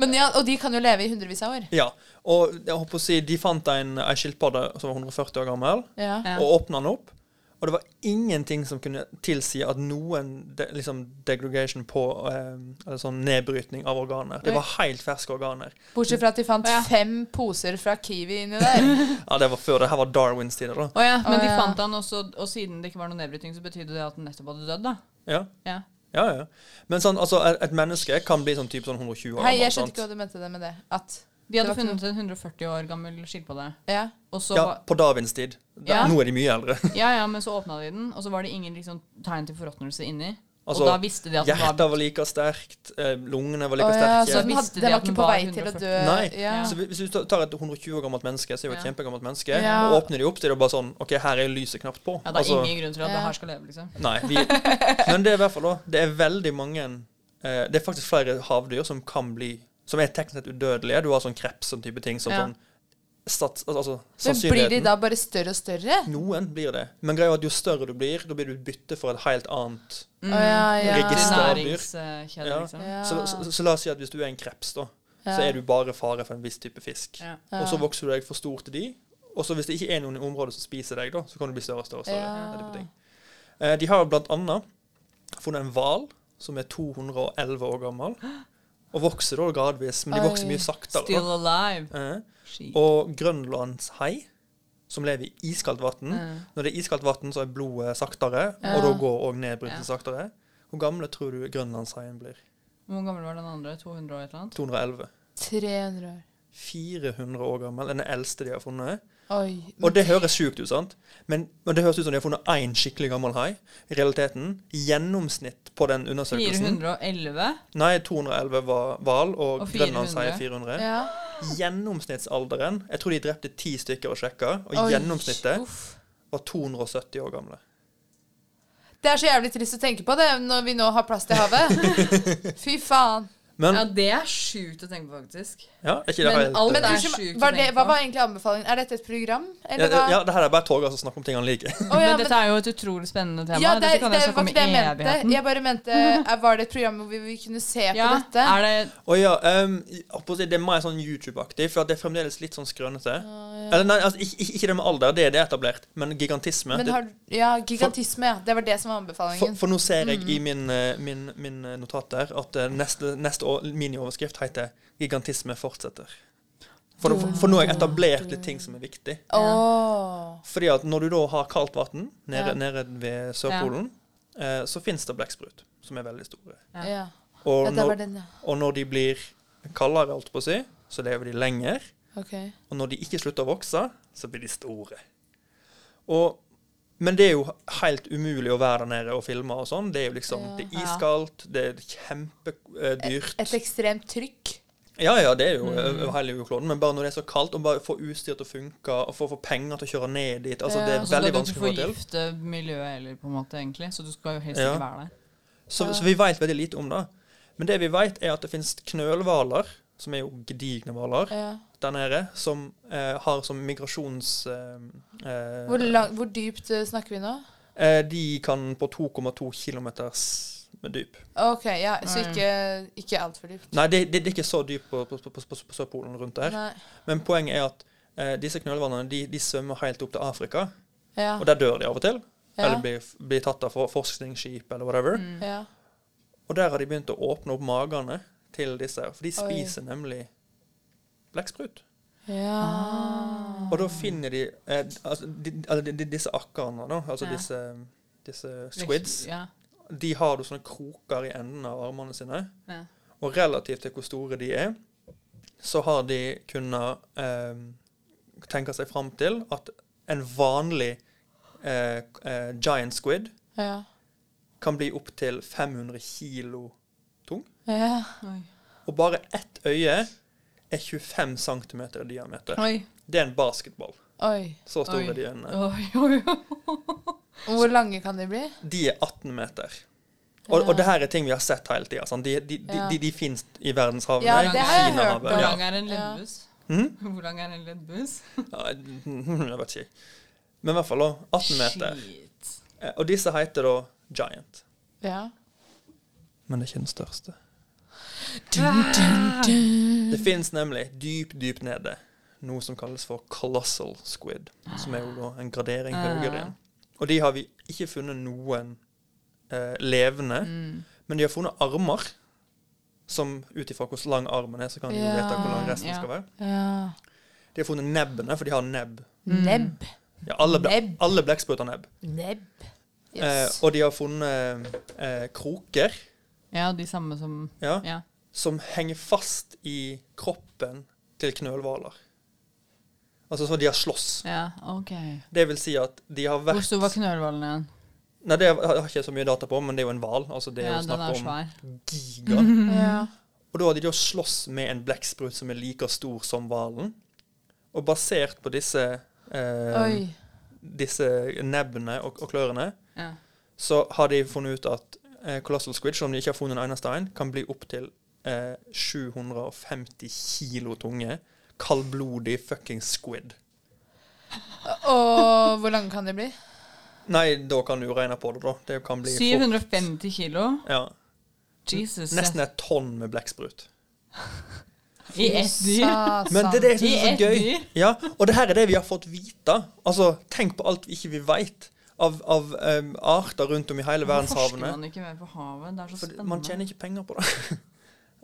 Men ja, og de kan jo leve i hundrevis av år.
Ja, og jeg håper å si, De fant en, en skilpadde som var 140 år gammel,
Ja.
Ja.
og åpna den opp. Og det var ingenting som kunne tilsi at noen de, liksom degradation på eh, eller sånn nedbrytning av organer. Det var helt ferske organer.
Bortsett fra at de fant
Ja.
fem poser fra Kiwi inni der.
Ja, Det var før det her var Darwins tider, da.
Å ja, men
Å
de
ja.
fant han også, og siden det ikke var noen nedbrytning, så betydde det at han nettopp hadde dødd, da.
Ja,
Ja.
ja, ja. Men sånn, altså, et, et menneske kan bli sånn type sånn 120 år.
Hei, jeg
gammel,
skjønte ikke
sant?
hva du mente det med det. At
De hadde
Det var ikke
funnet en 140 år gammel skilpadde,
Ja.
og så
Ja,
var-
På Darwins tid. Da,
Ja.
Nå er de mye eldre.
Ja, ja, men så åpna de den, og så var det ingen liksom, tegn til forråtnelse inni.
Altså,
og da visste de at den
Hjertet
var
var like sterkt, eh, lungene var
Å ja,
like sterke.
så den,
Visste
hadde,
de
den var
at den
ikke på
var
vei til å
140?
dø.
Nei.
Ja.
Så hvis- hvis du tar et 120 år gammelt menneske, så er jo et
Ja.
kjempegammelt menneske,
Ja.
og åpner de opp, så er det bare sånn OK, her er lyset knapt på.
Ja, det er
Altså,
ingen grunn til at
Ja.
det her skal leve, liksom.
Nei. Vi, men det er i hvert fall da Det er veldig mange eh, Det er faktisk flere havdyr som kan bli Som er teknisk sett udødelige. Du har sånn kreps og type ting som
Ja.
sånn stats, al- Altså
Men blir de
sannsynligheten
da bare større og større?
Noen blir det. Men greia er at jo større du blir, da blir du bytte for et helt annet
Å ja, ja.
Register. Registrerbyr.
Næringskjede,
Ja.
liksom.
Ja.
så, så, så la oss si at hvis du er en kreps, da, så
Ja.
er du bare fare for en viss type fisk.
Ja.
Og så vokser du deg for stor til de. Og så hvis det ikke er noen i området som spiser deg, da, så kan du bli større og større. og større.
Ja.
Den type ting. Eh, De har blant annet funnet en hval som er 211 år gammel, og vokser da gradvis, men de vokser
Oi.
mye saktere. da.
Still alive.
Eh,
Shit.
Og grønlandshai, som lever i iskaldt vann.
Eh.
Når det er iskaldt vann, så er blodet saktere, og da går òg nedbrytelsen saktere. Hvor gamle tror du grønlandshaien blir?
Hvor gammel var den andre? 200 og et eller annet?
211.
300 år.
400 år gammel. Den er eldste de har funnet.
Oi.
Og det høres sjukt ut, sant? Men, men det høres ut som de har funnet én skikkelig gammel hai. I realiteten, gjennomsnitt på den undersøkelsen
411?
Nei, 211 var hval, og,
Og 400.
grønlandshai er 400.
Ja.
Gjennomsnittsalderen Jeg tror de drepte ti stykker og sjekka, og
Oi,
gjennomsnittet
uff.
var 270 år gamle.
Det er så jævlig trist å tenke på det når vi nå har plass til havet. Fy faen.
Men
Ja, det er sjukt å tenke på, faktisk.
ja, er ikke det
Men
helt
alt-
Men
Det er
unnskyld,
sjukt å
var det,
tenke
hva
på.
var egentlig anbefalingen? Er dette et program?
ja,
Eller
det,
hva?
ja, det her er bare Torgeir som snakker om ting han liker.
Å ja,
men,
men-
dette er jo et utrolig spennende tema.
Ja, det,
dette kan
det
jeg snakke
var
om i
ikke det jeg mente.
evigheten.
Jeg bare mente eh, Var det et program hvor vi, vi kunne se på
Ja,
dette?
er det
Og ja, ehm, jeg holdt på å si, Det er mer sånn YouTube-aktig, for at det er fremdeles litt sånn skrønete.
Å, ja.
Eller nei, altså, ikke, ikke- ikke det med alder, det er det etablert, men gigantisme.
Men
det-
har, ja, gigantisme, ja. Det var det som var anbefalingen.
For, for nå ser jeg
Mm.
i min, eh, min, min eh, notat der at eh, neste, neste år, minioverskrift heter 'Gigantisme fortsetter'. For, nå- for nå har jeg etablert litt ting som er viktig.
Åh.
Fordi at når du da har kaldt vann nede,
Ja.
nede ved Sørpolen, eh, så fins det blekksprut, som er veldig store.
Ja. Ja.
Og,
Ja, det var
når,
den, ja.
og når de blir kaldere, holdt på å si, så lever de lenger.
Ok.
Og når de ikke slutter å vokse, så blir de store. Og, men det er jo helt umulig å være der nede og filme og sånn. Det er jo liksom,
Ja.
det er iskaldt, det er kjempedyrt.
Et ekstremt trykk.
Ja, ja, det er jo
Mm.
eh, over hele jordkloden, men bare når det er så kaldt, og bare få utstyr til å funke, og få, få penger til å kjøre ned dit, altså det er veldig vanskelig å få til.
Du skal ikke forgifte miljøet heller, på en måte, egentlig. Så du skal jo helst
Ja.
ikke være der.
Så,
Ja.
så vi veit veldig lite om det. Men det vi veit, er at det finnes knølhvaler, som er jo gedigne hvaler
Ja.
der nede, som eh, har som migrasjons... Eh, eh,
Hvor, lang, hvor dypt eh, snakker vi nå?
eh, de kan på 2,2 kilometers dyp.
OK, ja,
Mm.
så ikke, ikke altfor dypt.
Nei, det, det, det er ikke så dypt på, på, på, på, på Sørpolen rundt der.
Nei.
Men poenget er at eh, disse knølhvalene de, de svømmer helt opp til Afrika.
Ja.
Og der dør de av og til.
Ja. Mm.
Eller blir, blir tatt av for- forskningsskip eller whatever.
Ja.
Og der har de begynt å åpne opp magene til disse. her, For de
Oi.
spiser nemlig blekksprut.
Ja.
Ah.
Ah.
Og da finner de, eh, altså, de, altså, de, de Disse akkarene, da, altså
Ja.
disse, disse squids,
Liksom. Ja.
de har du sånne kroker i enden av armene sine.
Ja.
Og relativt til hvor store de er, så har de kunnet eh, tenke seg fram til at en vanlig eh, eh, giant squid
Ja.
kan bli opptil 500 kilo tung.
Ja.
Og bare ett øye er 25 cm i diameter.
Oi.
Det er en basketball.
Oi.
Så store
Oi.
de øynene.
Hvor lange kan de bli?
De er 18 meter. Og, og det her er ting vi har sett hele tida. De, de, de,
Ja.
de, de fins i verdenshavene.
Ja,
i
det har jeg hørt
Kinahavet,
Hvor
ja.
lang er en leddbuss?
Mhm.
Hvor lang er en leddbuss?
Ja, Jeg vet ikke. Men i hvert fall da, 18 meter. Eh, Og disse heter da Giant.
Ja.
Men det er ikke den største.
Ah.
Det fins nemlig dypt, dypt nede noe som kalles for colossal squid. Som er jo da en gradering
Ah.
høyere igjen. Og de har vi ikke funnet noen eh, levende.
Mm.
Men de har funnet armer. Som ut ifra hvor lang armen er, så kan de jo
Ja,
vite hvor lang resten
ja.
skal være.
Ja.
De har funnet nebbene, for de har nebb.
Nebb.
Ja, alle, ble,
Nebb.
alle blekkspruter har nebb.
Nebb.
Eh, og de har funnet eh, kroker
Ja, de samme som
ja,
Ja.
som henger fast i kroppen til knølhvaler. Altså så de har slåss.
ja OK.
Det vil si at de har
Hvor
vært
stor var knølhvalen igjen?
Nei, det har jeg ikke så mye data på, men det er jo en hval. Altså, det er
Ja,
jo
den
snakk
er
om
svær.
giga.
Ja.
Og da har de da slåss med en blekksprut som er like stor som hvalen. Og basert på disse eh,
Oi.
disse nebbene og, og klørne,
Ja.
så har de funnet ut at eh, colossal squid, selv om de ikke har funnet en eneste en, kan bli opptil eh, 750 kilo tunge, kaldblodig fucking squid.
Og hvor lange kan de bli?
Nei, da kan du jo regne på det, da. Det kan bli fort-
750 kilo
Ja.
Jesus.
Nesten et tonn med blekksprut.
i ett dyr?
Men det er det jeg synes
I
er
ett
så gøy.
dyr?
Ja, og det her er det vi har fått vite. Altså, tenk på alt vi ikke vi veit av, av em, arter rundt om i hele
Hvorfor forsker
verdenshavene.
man ikke mer på havet? Det er så
Fordi
spennende.
man tjener ikke penger på det.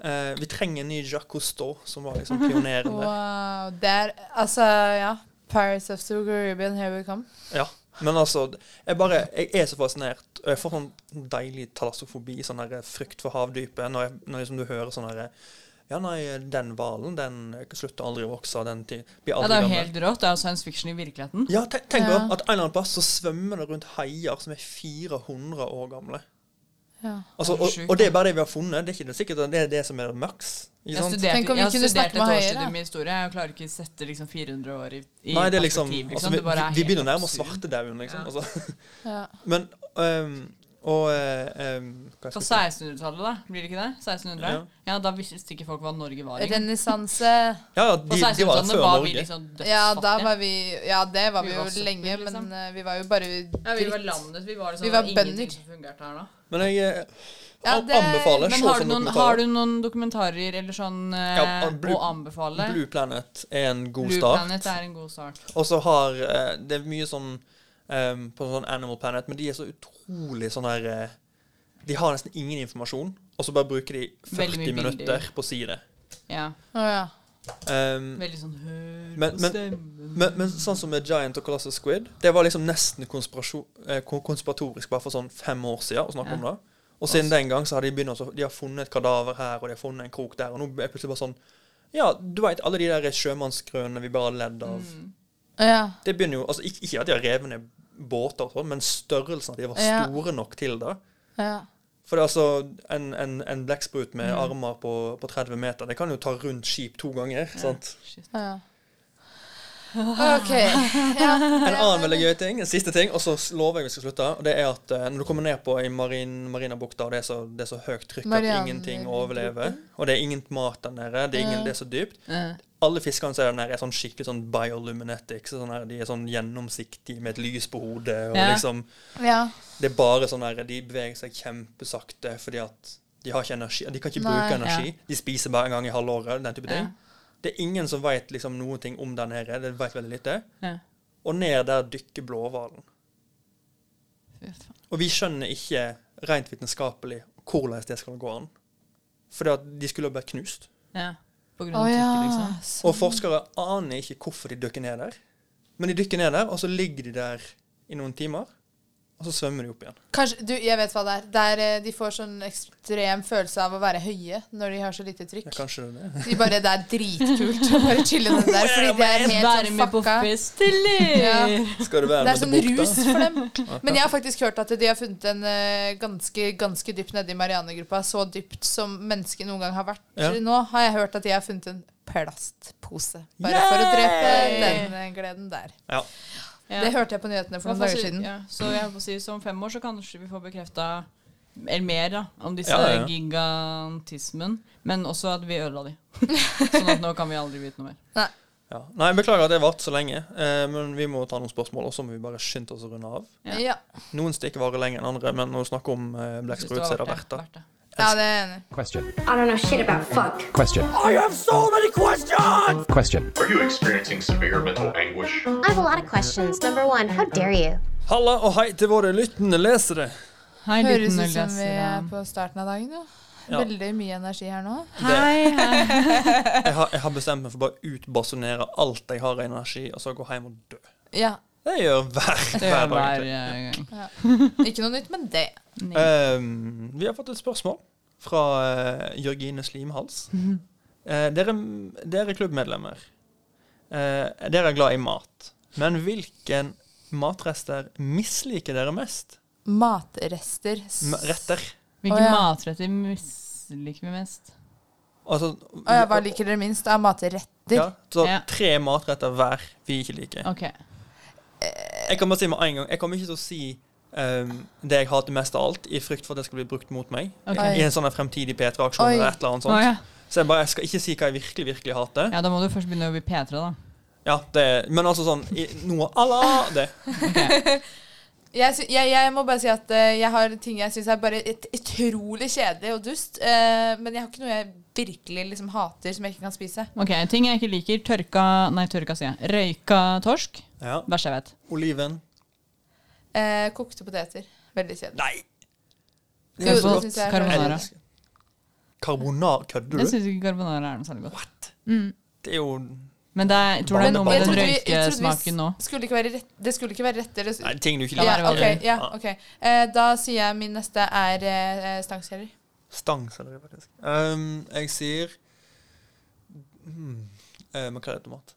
Eh, vi trenger en ny Jacques Cousteau, som var liksom pioneren der.
Wow. Det er Altså, ja. Pirates of the Caribbean, here we come.
Ja. Men altså, jeg bare Jeg er så fascinert. Og jeg får sånn deilig talassofobi, sånn der frykt for havdypet, når, jeg, når liksom du hører sånn herre Ja, nei, den hvalen, den slutter aldri å vokse, den ti- blir
Ja,
aldri
det er jo
gammel.
helt rått. Det er jo science fiction i virkeligheten.
Ja, te- tenk
Ja.
da, at en eller annen plass så svømmer det rundt haier som er 400 år gamle.
Ja.
Altså, og, og det er bare det vi har funnet. Det er ikke det sikkert at det er det som er maks. ikke
Jeg
sant?
studerte,
Tenk om vi
jeg
kunne
studerte
snakke
et
med
års
Høyre,
studie
da.
med historie. Jeg klarer ikke å sette liksom 400 år i, i
Nei, det er liksom,
perspektiv. Liksom.
altså, vi,
det bare er
vi
helt
begynner å nærme oss
absurd.
svartedauden, liksom.
Ja.
Altså.
Ja.
Men ehm, altså. Og eh, em, hva
På
skal jeg si?
1600-tallet, da? Blir det ikke det? 1600? Ja.
Ja.
Da visste ikke folk hva Norge var. ikke?
Renessanse.
Ja, ja,
På
de, de var
1600-tallet
før
var vi
Norge.
liksom
Ja, da
dødsfattige.
var vi Ja, det var vi
Vi
jo
var søppel,
lenge,
liksom.
men eh, vi var jo bare
Ja, vi var
dritt.
landet. Vi var, liksom,
Vi var
det var ingenting
bønder.
som fungerte her da.
Men jeg eh,
Ja,
an-
det-
anbefaler
Men
se
har du,
sånn
noen,
dokumentarer.
har du noen dokumentarer eller sånn eh,
Ja, Blue-
å anbefale?
Blue Planet er en god
Blue
start.
Planet er en god start.
Og så har eh, Det er mye sånn em, på sånn Animal Planet, men de er så utrolig sånn her eh, De har nesten ingen informasjon, og så bare bruker de
Veldig mye
40
bilder.
minutter på å si det.
Ja.
Å ja.
Em,
Veldig sånn hør
Men-
på
men-
stemmen
men, men sånn som med Giant og Colossus Squid, det var liksom nesten konspirasjon- eh, kon- konspiratorisk bare for sånn fem år siden å snakke om det. Og siden den gang så har de begynt å så- De har funnet et kadaver her, og de har funnet en krok der, og nå er det plutselig bare sånn Ja, du veit alle de der sjømannskrønene vi bare har ledd av.
Mm. ja.
Det begynner jo Altså ikke, ikke at de har revet ned båter og sånn, men størrelsen at de var
Ja.
store nok til det.
ja.
For det er altså en, en, en blekksprut med
Mm.
armer på, på 30 meter, det kan jo ta rundt skip to ganger. sant?
ja. OK. Ja.
En annen veldig gøy ting, en siste ting, og så s- lover jeg vi skal slutte, og det er at eh, når du kommer ned på i marin, Marinabukta, og det er, så, det er så høyt trykk at
Marianne- eh,
ingenting overlever, og det er ingen mat der nede, det er, ingen, det er så dypt
eh.
Alle fiskene som er der nede, er sånn skikkelig sånn bioluminetics. Sånn her, de er sånn gjennomsiktige med et lys på hodet, og
Ja.
liksom
Ja.
Det er bare sånn der, De beveger seg kjempesakte fordi at de har ikke energi. De kan ikke
Nei,
bruke
ja.
energi. De spiser bare en gang i halvåret. Den type ting. Det er ingen som vet liksom noen ting om den her. Det vet veldig lite.
Ja.
Og ned der dykker blåhvalen.
Fy faen.
Og vi skjønner ikke rent vitenskapelig hvordan det skal gå an. Fordi at de skulle ha blitt knust.
Ja. På grunn
Å
av
ja.
trykket, liksom.
Og
Sånn.
forskere aner ikke hvorfor de dykker ned der. Men de dykker ned der, og så ligger de der i noen timer. Og så svømmer de opp igjen.
Kanskje, du, jeg vet hva det er. Det er eh, de får sånn ekstrem følelse av å være høye når de har så lite
Ja,
trykk.
kanskje det er det.
De bare, Det er dritkult å bare chille den der, fordi det er helt
Være
sånn
med på
fucka.
fest, eller?
Ja.
Skal det være
Det er
med til
sånn
bukta?
rus for dem. Men jeg har faktisk hørt at de har funnet en eh, ganske, ganske dypt nede i Marianegruppa, så dypt som mennesket noen gang har vært.
Ja.
Nå har jeg hørt at de har funnet en plastpose, bare for å drepe den eh, gleden der.
Ja.
Ja.
Det hørte jeg på nyhetene for
Hva
noen
faen
dager
sier-
siden.
Ja, så jeg holdt på å si, så om fem år så kanskje vi får bekrefta eller mer da, om disse
Ja, ja, ja.
gigantismen. Men også at vi ødela de. sånn at nå kan vi aldri vite noe mer.
Ja. Nei, beklager at det varte så lenge, eh, men vi må ta noen spørsmål, og så må vi bare skynde oss å runde av.
Ja,
Ja.
ja.
Noen stikker varer lenger enn andre, men når vi snakker om eh,
Synes
blekksprut, så er det verdt det.
verdt det.
det er jeg enig. i.
Question.
I don't know shit about fuck.
Question. I have so many questions! Question.
Are you experiencing severe mental anguish?
I have a lot of questions. Number one, how dare you?
Halla og hei til våre lyttende lesere.
Hei,
Høres ut
liten
som vi
ølleser,
er på starten av dagen, jo.
Ja.
Veldig mye energi her nå.
da. Hei, hei.
Jeg har, jeg har bestemt meg for bare å utbasunere alt jeg har av energi, og så gå hjem og dø.
Ja.
Det gjør jeg hver,
Det
hver
er
dag.
hver
egentlig.
eh, gang.
Ikke noe nytt med det.
Ehm, vi har fått et spørsmål fra eh, Jørgine Slimhals. Eh, dere, dere klubbmedlemmer, eh, dere er glad i mat. Men hvilken matrester misliker dere mest?
Matrester.
M retter.
Hvilke
Å, ja.
matretter misliker vi mest?
Altså,
Å ja, hva liker dere minst av matretter?
ja, så
Ja.
tre matretter hver vi ikke liker.
Ok.
Jeg kan bare si med en gang Jeg kommer ikke til å si ehm, det jeg hater mest av alt, i frykt for at det skal bli brukt mot meg.
ok.
Oi.
I en sånn her fremtidig P3-aksjon
Oi.
eller et eller annet
Å,
sånt.
ja.
Så jeg bare jeg skal ikke si hva jeg virkelig, virkelig hater.
ja, da må du først begynne å bli P3, da.
Ja, det er, men altså sånn i, Noe à la det.
Jeg, sy jeg, jeg må bare si at eh, jeg har ting jeg syns er bare et, utrolig kjedelig og dust. eh, men jeg har ikke noe jeg virkelig liksom hater som jeg ikke kan spise.
Ok, Ting jeg ikke liker. Tørka Nei, tørka, sier jeg. Røyka torsk.
Ja.
Verst jeg vet.
Oliven.
Eh, kokte poteter. Veldig kjedelig.
Nei!
Jo,
så
det
godt.
synes jeg er
Carbonara.
kjedelig.
Elsker. Karbonar, kødder
Jeg Mm.
du?
syns ikke carbonara er noe særlig godt.
Det er jo
Men det er, jeg tror det er
Men
noe med
jeg
den
trodde vi- jeg trodde vi
røykesmaken nå.
Skulle ikke være rett, det skulle ikke være retter. Det,
Nei, ting du ikke
Kan
ja,
liker.
være
ok,
vanlig.
ja, ok. Eh, da sier jeg min neste er uh, stangselleri.
Stang, sa dere faktisk. Um, jeg sier hmm, eh, Makrell i tomat.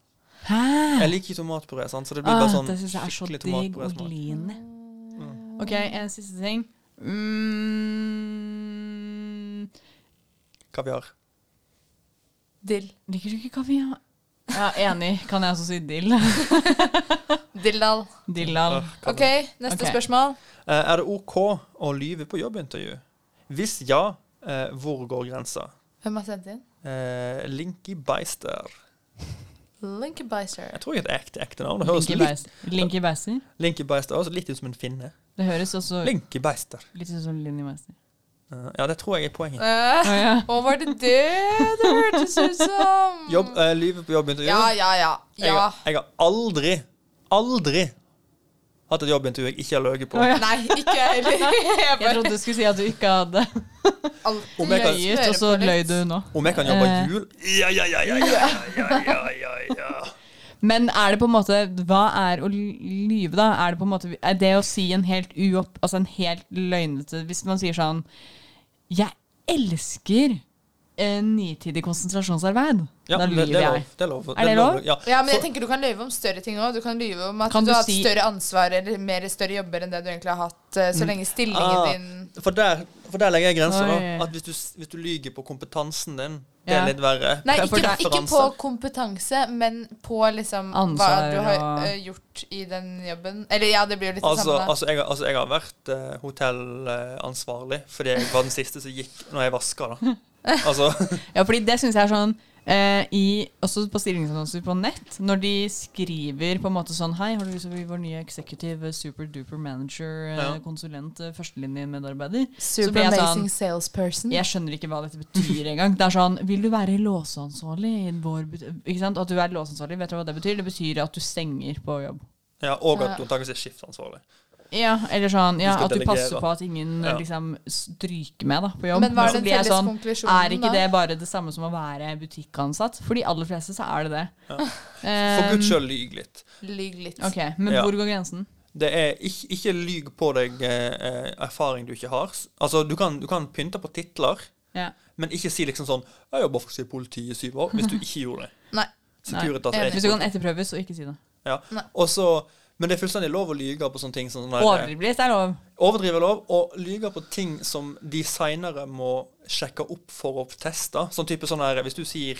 Hæ?
Jeg liker ikke tomatpuré, sant? så det blir bare sånn
det syns jeg er så
skikkelig
digg og
tomatpuré.
lean. OK, en siste ting. Mm,
Kaviar.
Dill.
liker du ikke kaviar? Ja, enig. Kan jeg også si dill?
Dilldall.
Dillal.
OK, neste
Ok.
spørsmål.
Eh, Er det OK å lyve på jobbintervju? Hvis ja, eh, hvor går grensa?
Hvem har sendt inn?
Eh, Linky Beister.
Linky Bicer.
Jeg tror ikke det er ekte, ekte navn. Det høres
Linky
litt,
Beis- Linky Beister.
Linky Beister høres litt ut som en finne.
Det høres også
Linky Beister.
litt ut som Linni Meister.
Eh, Ja, det tror jeg er poenget.
Eh,
ja.
Hva var det det det hørtes ut som?
Jobb, eh, lyve på jobbintervju.
Ja, ja, ja.
Jeg,
ja.
har, jeg har aldri, aldri hatt et jobbintervju jeg ikke har løyet på.
Å, ja.
Nei, ikke jeg heller. Jeg
Jeg trodde
bare
du skulle si at du ikke hadde
alltid
Om jeg kan-
løyet, og så løy du nå.
Om jeg kan jobbe
Eh.
jul? Ja, ja, ja, ja, ja, ja, ja, ja, ja.
Men er det på en måte Hva er å lyve, da? Er det på en måte Er det å si en helt uopp... Altså en helt løgnete Hvis man sier sånn Jeg elsker eh, nitidig konsentrasjonsarbeid.
Ja,
da
men det-
lyver
det er lov.
jeg.
Det er lov.
Er det lov?
Ja.
Ja, men jeg
Så-
tenker Du kan løyve om større ting òg. Du kan lyve om at
Kan
du,
du
har hatt
si-
større ansvar eller mer større jobber enn det du egentlig har hatt, eh,
Mm.
så lenge stillingen
Ah,
din
for, der, for der legger jeg grenser,
Oi.
da. At hvis du, hvis du lyger på kompetansen din, det
Ja.
er litt verre.
Nei,
For
ikke, ikke på
referanser.
kompetanse, men på liksom hva
Ansvar
du har
og-
eh, gjort i den jobben. Eller ja, det blir jo litt det
Altså,
samme. da.
altså, jeg, har- altså, jeg har vært eh, hotellansvarlig fordi jeg var den siste som gikk når jeg vaska, da. Altså
Ja, fordi det syns jeg er sånn eh, i, Også på stillingsannonser på nett, når de skriver på en måte sånn Hei, har du lyst til å bli vår nye executive superduper manager, eh,
Ja.
konsulent, eh, førstelinjemedarbeider? Så
Super
blir jeg
amazing
sånn,
salesperson.
Jeg skjønner ikke hva dette betyr engang. Det er sånn Vil du være låseansvarlig i vår but- Ikke sant? At du er låseansvarlig, vet du hva det betyr? Det betyr at du stenger på jobb.
Ja, og at du antakeligvis er skiftansvarlig.
Ja, eller sånn ja,
Du skal
At du
delegere.
passer på at ingen
Ja.
liksom stryker med da, på jobb.
Men hva er
Så
den
blir jeg
felles
sånn,
konklusjonen,
Er ikke
da?
det bare det samme som å være butikkansatt? For de aller fleste så er det det.
For
Um,
guds skyld, lyg litt.
Lyg litt.
Ok, Men
Ja.
hvor går grensen?
Det er ikke, ikke lyg på deg eh, eh, erfaring du ikke har. S- Altså, du kan, du kan pynte på titler,
Ja.
men ikke si liksom sånn 'Jeg jobba faktisk i politiet i syv år', hvis du ikke gjorde det.
Nei.
Securitas
Nei,
er
enig.
Hvis du kan etterprøves, så ikke si det.
Ja.
Nei.
Og så- men det er fullstendig lov å lyge på sånne ting. Sånn, der-
Overbli, det er lov.
overdrive er lov, og lyge på ting som de seinere må sjekke opp for å teste. Sånn type sånn her, Hvis du sier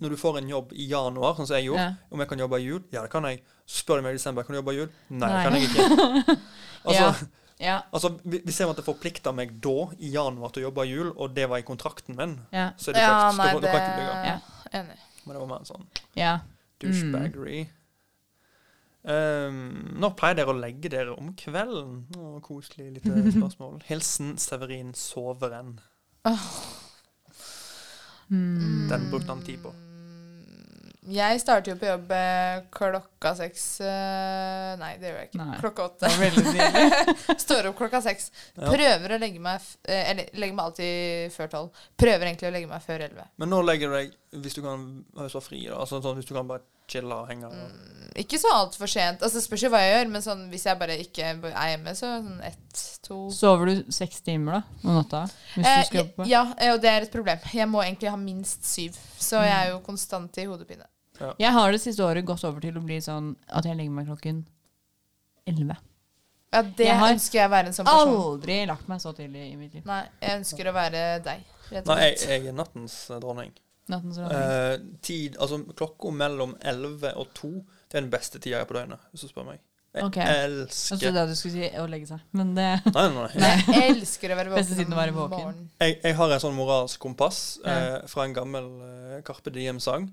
når du får en jobb i januar, sånn som jeg gjorde,
Ja.
om jeg kan jobbe i jul, ja, det kan jeg. Så spør de meg i desember, kan du jobbe i jul? Nei,
Nei.
det kan jeg ikke. Altså,
Ja.
Altså, vi, vi ser at det forplikter meg da, i januar, til å jobbe i jul, og det var i kontrakten min.
Ja.
Så det
Ja,
kan,
nei,
du,
det
kan ikke bygge.
Ja.
Enig.
Men det var mer en sånn
ja.
douchebaggery. Um, nå pleier dere å legge dere om kvelden. Å, koselig lite spørsmål. Hilsen Severin Soveren.
Mm.
Den brukte han tid på.
Mm, Jeg starter jo på jobb eh, klokka seks eh, Nei, det gjør jeg ikke.
Nei.
Klokka åtte.
Det var veldig tidlig.
Står opp klokka seks.
Ja.
Prøver å legge meg f- eh, Eller legger meg alltid før tolv. Prøver egentlig å legge meg før elleve.
Men nå legger du deg, hvis du kan hvis du har fri, da, altså, sånn, hvis du kan bare chille og henge. og-
Ikke så altfor sent. Altså, det spørs jo hva jeg gjør, men sånn, hvis jeg bare ikke er hjemme, så sånn ett, to
Sover du seks timer da om natta? Hvis
Eh,
du skal jobbe?
ja, eh, og det er et problem. Jeg må egentlig ha minst syv. Så jeg er jo konstant i hodepine.
Jeg har det siste året gått over til å bli sånn at jeg legger meg klokken elleve.
Ja, det
Jeg har
ønsker jeg å være en sånn person.
Aldri lagt meg så tidlig i mitt liv.
Nei, jeg ønsker å være deg, rett og
Nei, jeg,
slett.
jeg er nattens eh, dronning.
Nattens uh,
Eh, tid, altså Klokka mellom 11 og 2 Det er den beste tida jeg er på døgnet, hvis du spør meg. Jeg
Ok. Altså, jeg
elsker
trodde
Nei,
jeg du skulle si å legge seg, men det
nei, nei.
Jeg elsker å være
Beste
våken
siden å være våken.
morgenen.
Jeg, jeg har en sånn moralsk kompass eh,
Ja.
fra en gammel eh, Carpe Diem-sang.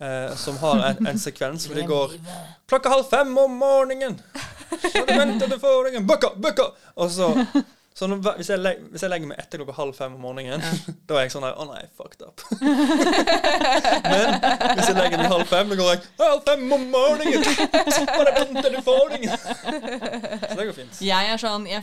eh, som har en, en sekvens hvor det går Klokka halv fem om morgenen! Så du venter du får deg en bøkka, bøkka! Og så, så når, hvis, jeg legger, hvis jeg legger meg etter klokka halv fem om morgenen, da er jeg sånn her Å nei, fucked up. Men hvis jeg legger meg halv fem, da går jeg halv fem om morgenen! Så det venter du får deg en Så det går fint.
Jeg er sånn, jeg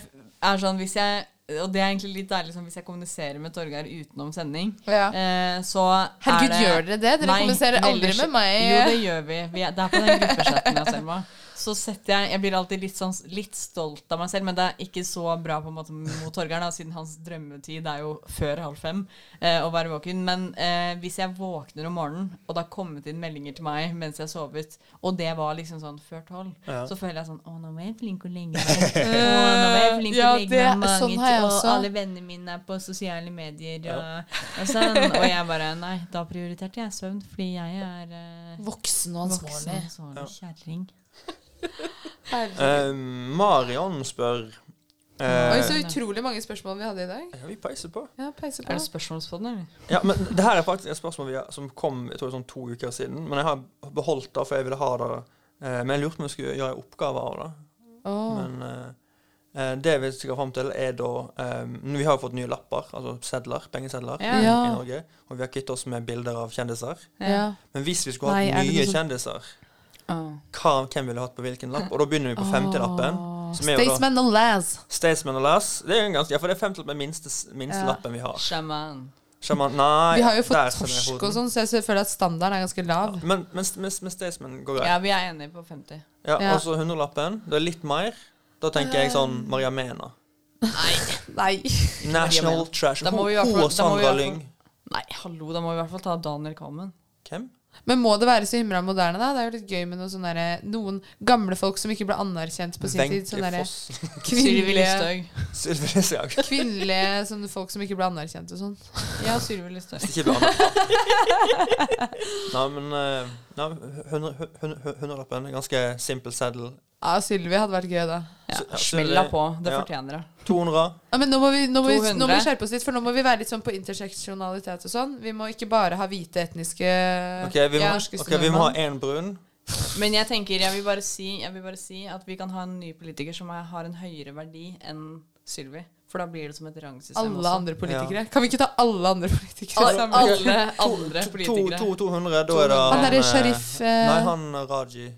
er sånn hvis jeg Og det er egentlig litt deilig sånn, hvis jeg kommuniserer med Torgeir utenom sending.
Ja.
Eh, så
Herregud,
er
gjør dere det? Dere kommuniserer aldri
veldig
med
sj-
meg.
Jo, det gjør vi. vi er, det er på den gruppechatten, ja, Selma. så setter jeg Jeg blir alltid litt, sånn, litt stolt av meg selv, men det er ikke så bra på en måte mot Torgeren, da, siden hans drømmetid er jo før halv fem eh, å være våken. Men eh, hvis jeg våkner om morgenen, og det har kommet inn meldinger til meg mens jeg sovet, og det var liksom sånn før tolv,
Ja.
så føler jeg sånn Å, nå var jeg flink å legge meg. Å, nå var jeg flink å
Ja,
legge
det-
meg mange
sånn har jeg
til, og
også.
alle vennene mine er på sosiale medier og,
Ja.
og sånn. Og jeg bare Nei, da prioriterte jeg søvn, fordi jeg er eh,
Voksen og
voksen og
ansvarlig.
ansvarlig kjerring.
Eh, Marion spør eh,
Oi, så utrolig mange spørsmål vi hadde i dag.
Ja, vi peiser på.
Ja, peiser på.
Er det spørsmålspodden, eller?
Ja, men Det her er faktisk et spørsmål vi har, som kom jeg tror, sånn to uker siden. Men jeg har beholdt det, for jeg ville ha det eh, Men jeg lurte på om jeg skulle gjøre en oppgave av det.
Åh.
Men eh, eh, det vi skal fram til, er da eh, Vi har jo fått nye lapper, altså sedler, pengesedler,
Ja.
i
Ja.
Norge. Og vi har kvittet oss med bilder av kjendiser.
Ja.
Men hvis vi skulle
Nei, er
hatt
det
nye
noe som-
kjendiser,
Åh.
hva, hvem ville hatt på hvilken lapp? Og da begynner vi på
Åh.
femtilappen. som er jo da-
Staysman og Laz.
Staysman og Lass. Det er jo en ganske, ja, for det er femtilappen med minste, minste
Ja.
lappen vi har.
Sjaman.
Sjaman, nei,
Vi har jo
der
fått
sender jeg
torsk
foten.
og sånn, så jeg ser- føler at standarden er ganske lav.
Men, men, men, men Staysman går greit.
Ja, vi er enige på 50.
Ja,
Ja.
Og så hundrelappen. Det er litt mer. Da tenker jeg sånn Maria Mena.
Nei.
National Trash.
Da må vi i
Hun-
hvert
hun og
fall- da må vi i
Sandra
hvert fall-
Lyng.
Nei, hallo, da må vi i hvert fall ta Daniel Kammen.
Hvem?
Men må det være så himla moderne, da? Det er jo litt gøy med noe sånn derre- noen gamle folk som ikke ble anerkjent på sin
Wenche
tid. Sånn derre
Foss.
Sylvi
kvinnelige,
Listhaug.
Sylvi Listhaug.
kvinnelige sånne folk som ikke ble anerkjent og sånn.
Ja, Sylvi Listhaug.
Ikke blant annet. Nei, men eh, nei, hundre- hun- hun- hun- hundrelappen er ganske simpel seddel.
Ja, Sylvi hadde vært gøy, da.
Ja,
smella på. Det fortjener det.
200.
Ja, men nå må, vi, nå, må vi, nå må vi
200.
skjerpe oss litt, for nå må vi være litt sånn på interseksjonalitet og sånn. Vi må ikke bare ha hvite etniske
OK, vi må,
norske
ok, vi må ha
nordmenn.
én brun.
Men jeg tenker, jeg vil, bare si, jeg vil bare si at vi kan ha en ny politiker som er, har en høyere verdi enn Sylvi. For da blir det som et rangsystem
Alle
også.
andre politikere. Kan vi ikke ta alle andre politikere
Alle-
sammen?
alle andre
To-
politikere.
To, to, 200, da er det
Han derre
eh,
Sharif, eh,
Nei, han Raji.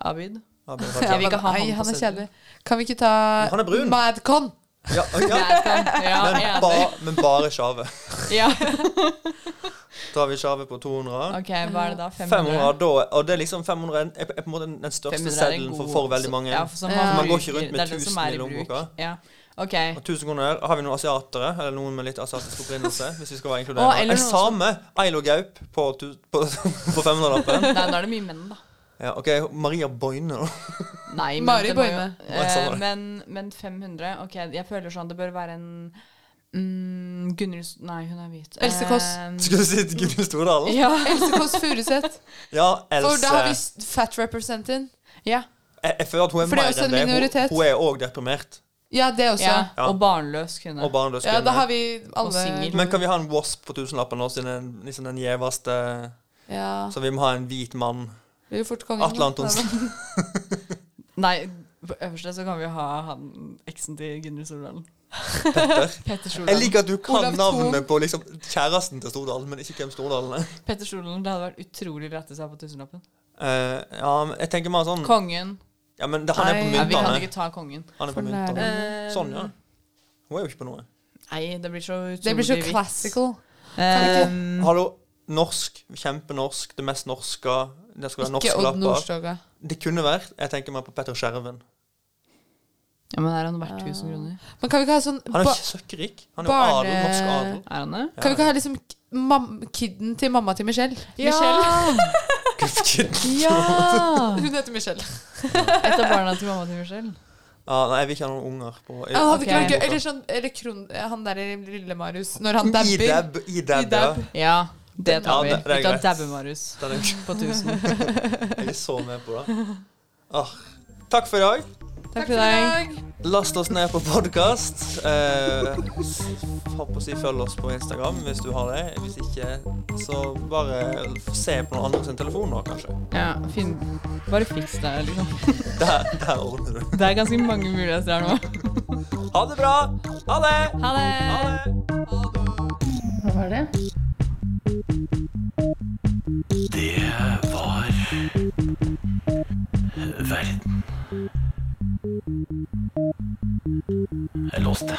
Abid.
Abid
Ja,
Raji.
men nei, han er kjedelig. Kan vi ikke ta
Han er brun.
Madcon?
Ja, å, ja.
Ja,
men,
jeg er
ba,
enig.
men bare Sjave.
Ja.
Da har vi Sjave på 200.
Ok, hva er det da? 500?
500 da, og det er liksom 500 er, er på en måte den- den største
500 er en
seddelen for,
god-
for veldig mange.
ja, for som
man,
man
går ikke
bruker.
rundt
Det
med
er den som
1000
er
i
i bruk.
lommeboka.
Ja. Ok.
Og 1000 kroner. Har vi noen asiatere, eller noen med litt asiatisk opprinnelse? Hvis vi skal være
Å,
inkluderende.
eller
En
noen
same, Ailo Gaup, på, tu- på, på 500-lappen.
Nei, da er det mye menn, da.
Ja, OK, Maria Boine, da.
Nei, men
Mari
det må jo-
Boine.
Eh,
Nei, sånn var det.
men, men 500 Ok, jeg føler sånn det bør være en mm, Gunnhild S- Nei, hun er hvit.
Else Kåss.
Eh,
Skulle du si Gunhild Stordalen?
Ja.
Else Kåss Furuseth.
Ja,
For da har vi
Else.
s- fat representant.
Ja.
Jeg, jeg føler at hun er
For det er
mer
også en
enn det. Hun,
minoritet.
hun er òg deprimert.
Ja, det også.
Ja,
Ja.
Og barnløs kvinne.
Og barnløs
Ja, da
kvinne.
har vi alle
Men kan vi ha en wasp på tusenlappen nå, siden den, liksom den gjeveste
Ja.
Så vi må ha en hvit mann.
Vi vil fort kongen.
Atle Antonsen.
Nei, på øverste så kan vi ha han eksen til Gunnhild Stordalen.
Petter.
Petter Stordalen.
Jeg liker at du kan
Olav Thon.
navnet på liksom kjæresten til Stordalen, men ikke hvem Stordalen er.
Petter Stordalen, det hadde vært utrolig lættis her på tusenlappen.
Eh, ja, men jeg tenker mer sånn
Kongen.
Ja, men det, han er på
Nei. Ja, vi kan ikke
myntene.
ta kongen.
Han er på
For
myntene.
nærme.
Sånn, ja. Hun er jo ikke på noe.
Nei, det blir så utrolig
Det blir så
hvitt.
classical.
Ehm,
Hallo, norsk. Kjempenorsk. Det mest norske. Det skal være
Ikke
norske
Odd
lapper.
Nordstoga.
Det kunne vært. Jeg tenker mer på Petter Skjerven.
ja, men er han verdt 1000 kroner?
Men kan vi ikke ha sånn
Han er jo
ba-
ikke søkkrik. Han er jo adel. Norsk adel.
Er han det?
Ja.
Kan vi ikke ha liksom k- mam kidden til mamma til Michelle?
Michelle. ja!
Hun heter Michelle.
Et av barna til mamma til Michelle.
Ja, nei, jeg vil ikke ha noen unger på
Ja, hadde ikke vært
Ok.
gøy. Eller sånn Eller kron, han der i lille Marius, når han
Idab,
dabber.
idab,
Idab.
ja.
Ja, det tar vi.
Ja, det- det er
vi tar
greit.
dabbe-Marius
Det er greit.
på 1000.
Jeg er så med på det. Ah. Takk for i dag.
Takk for i dag.
Last oss ned på podkast. Eh, s- håper å si følg oss på Instagram hvis du har det. Hvis ikke, så bare se på noen andre sin telefon nå, kanskje.
Ja, fin. Bare fiks det, liksom.
Der, der ordner du.
Det er ganske mange muligheter her nå.
Ha det bra! Ha det!
Ha det!
Hva var det?
Det var verden. Jeg låste.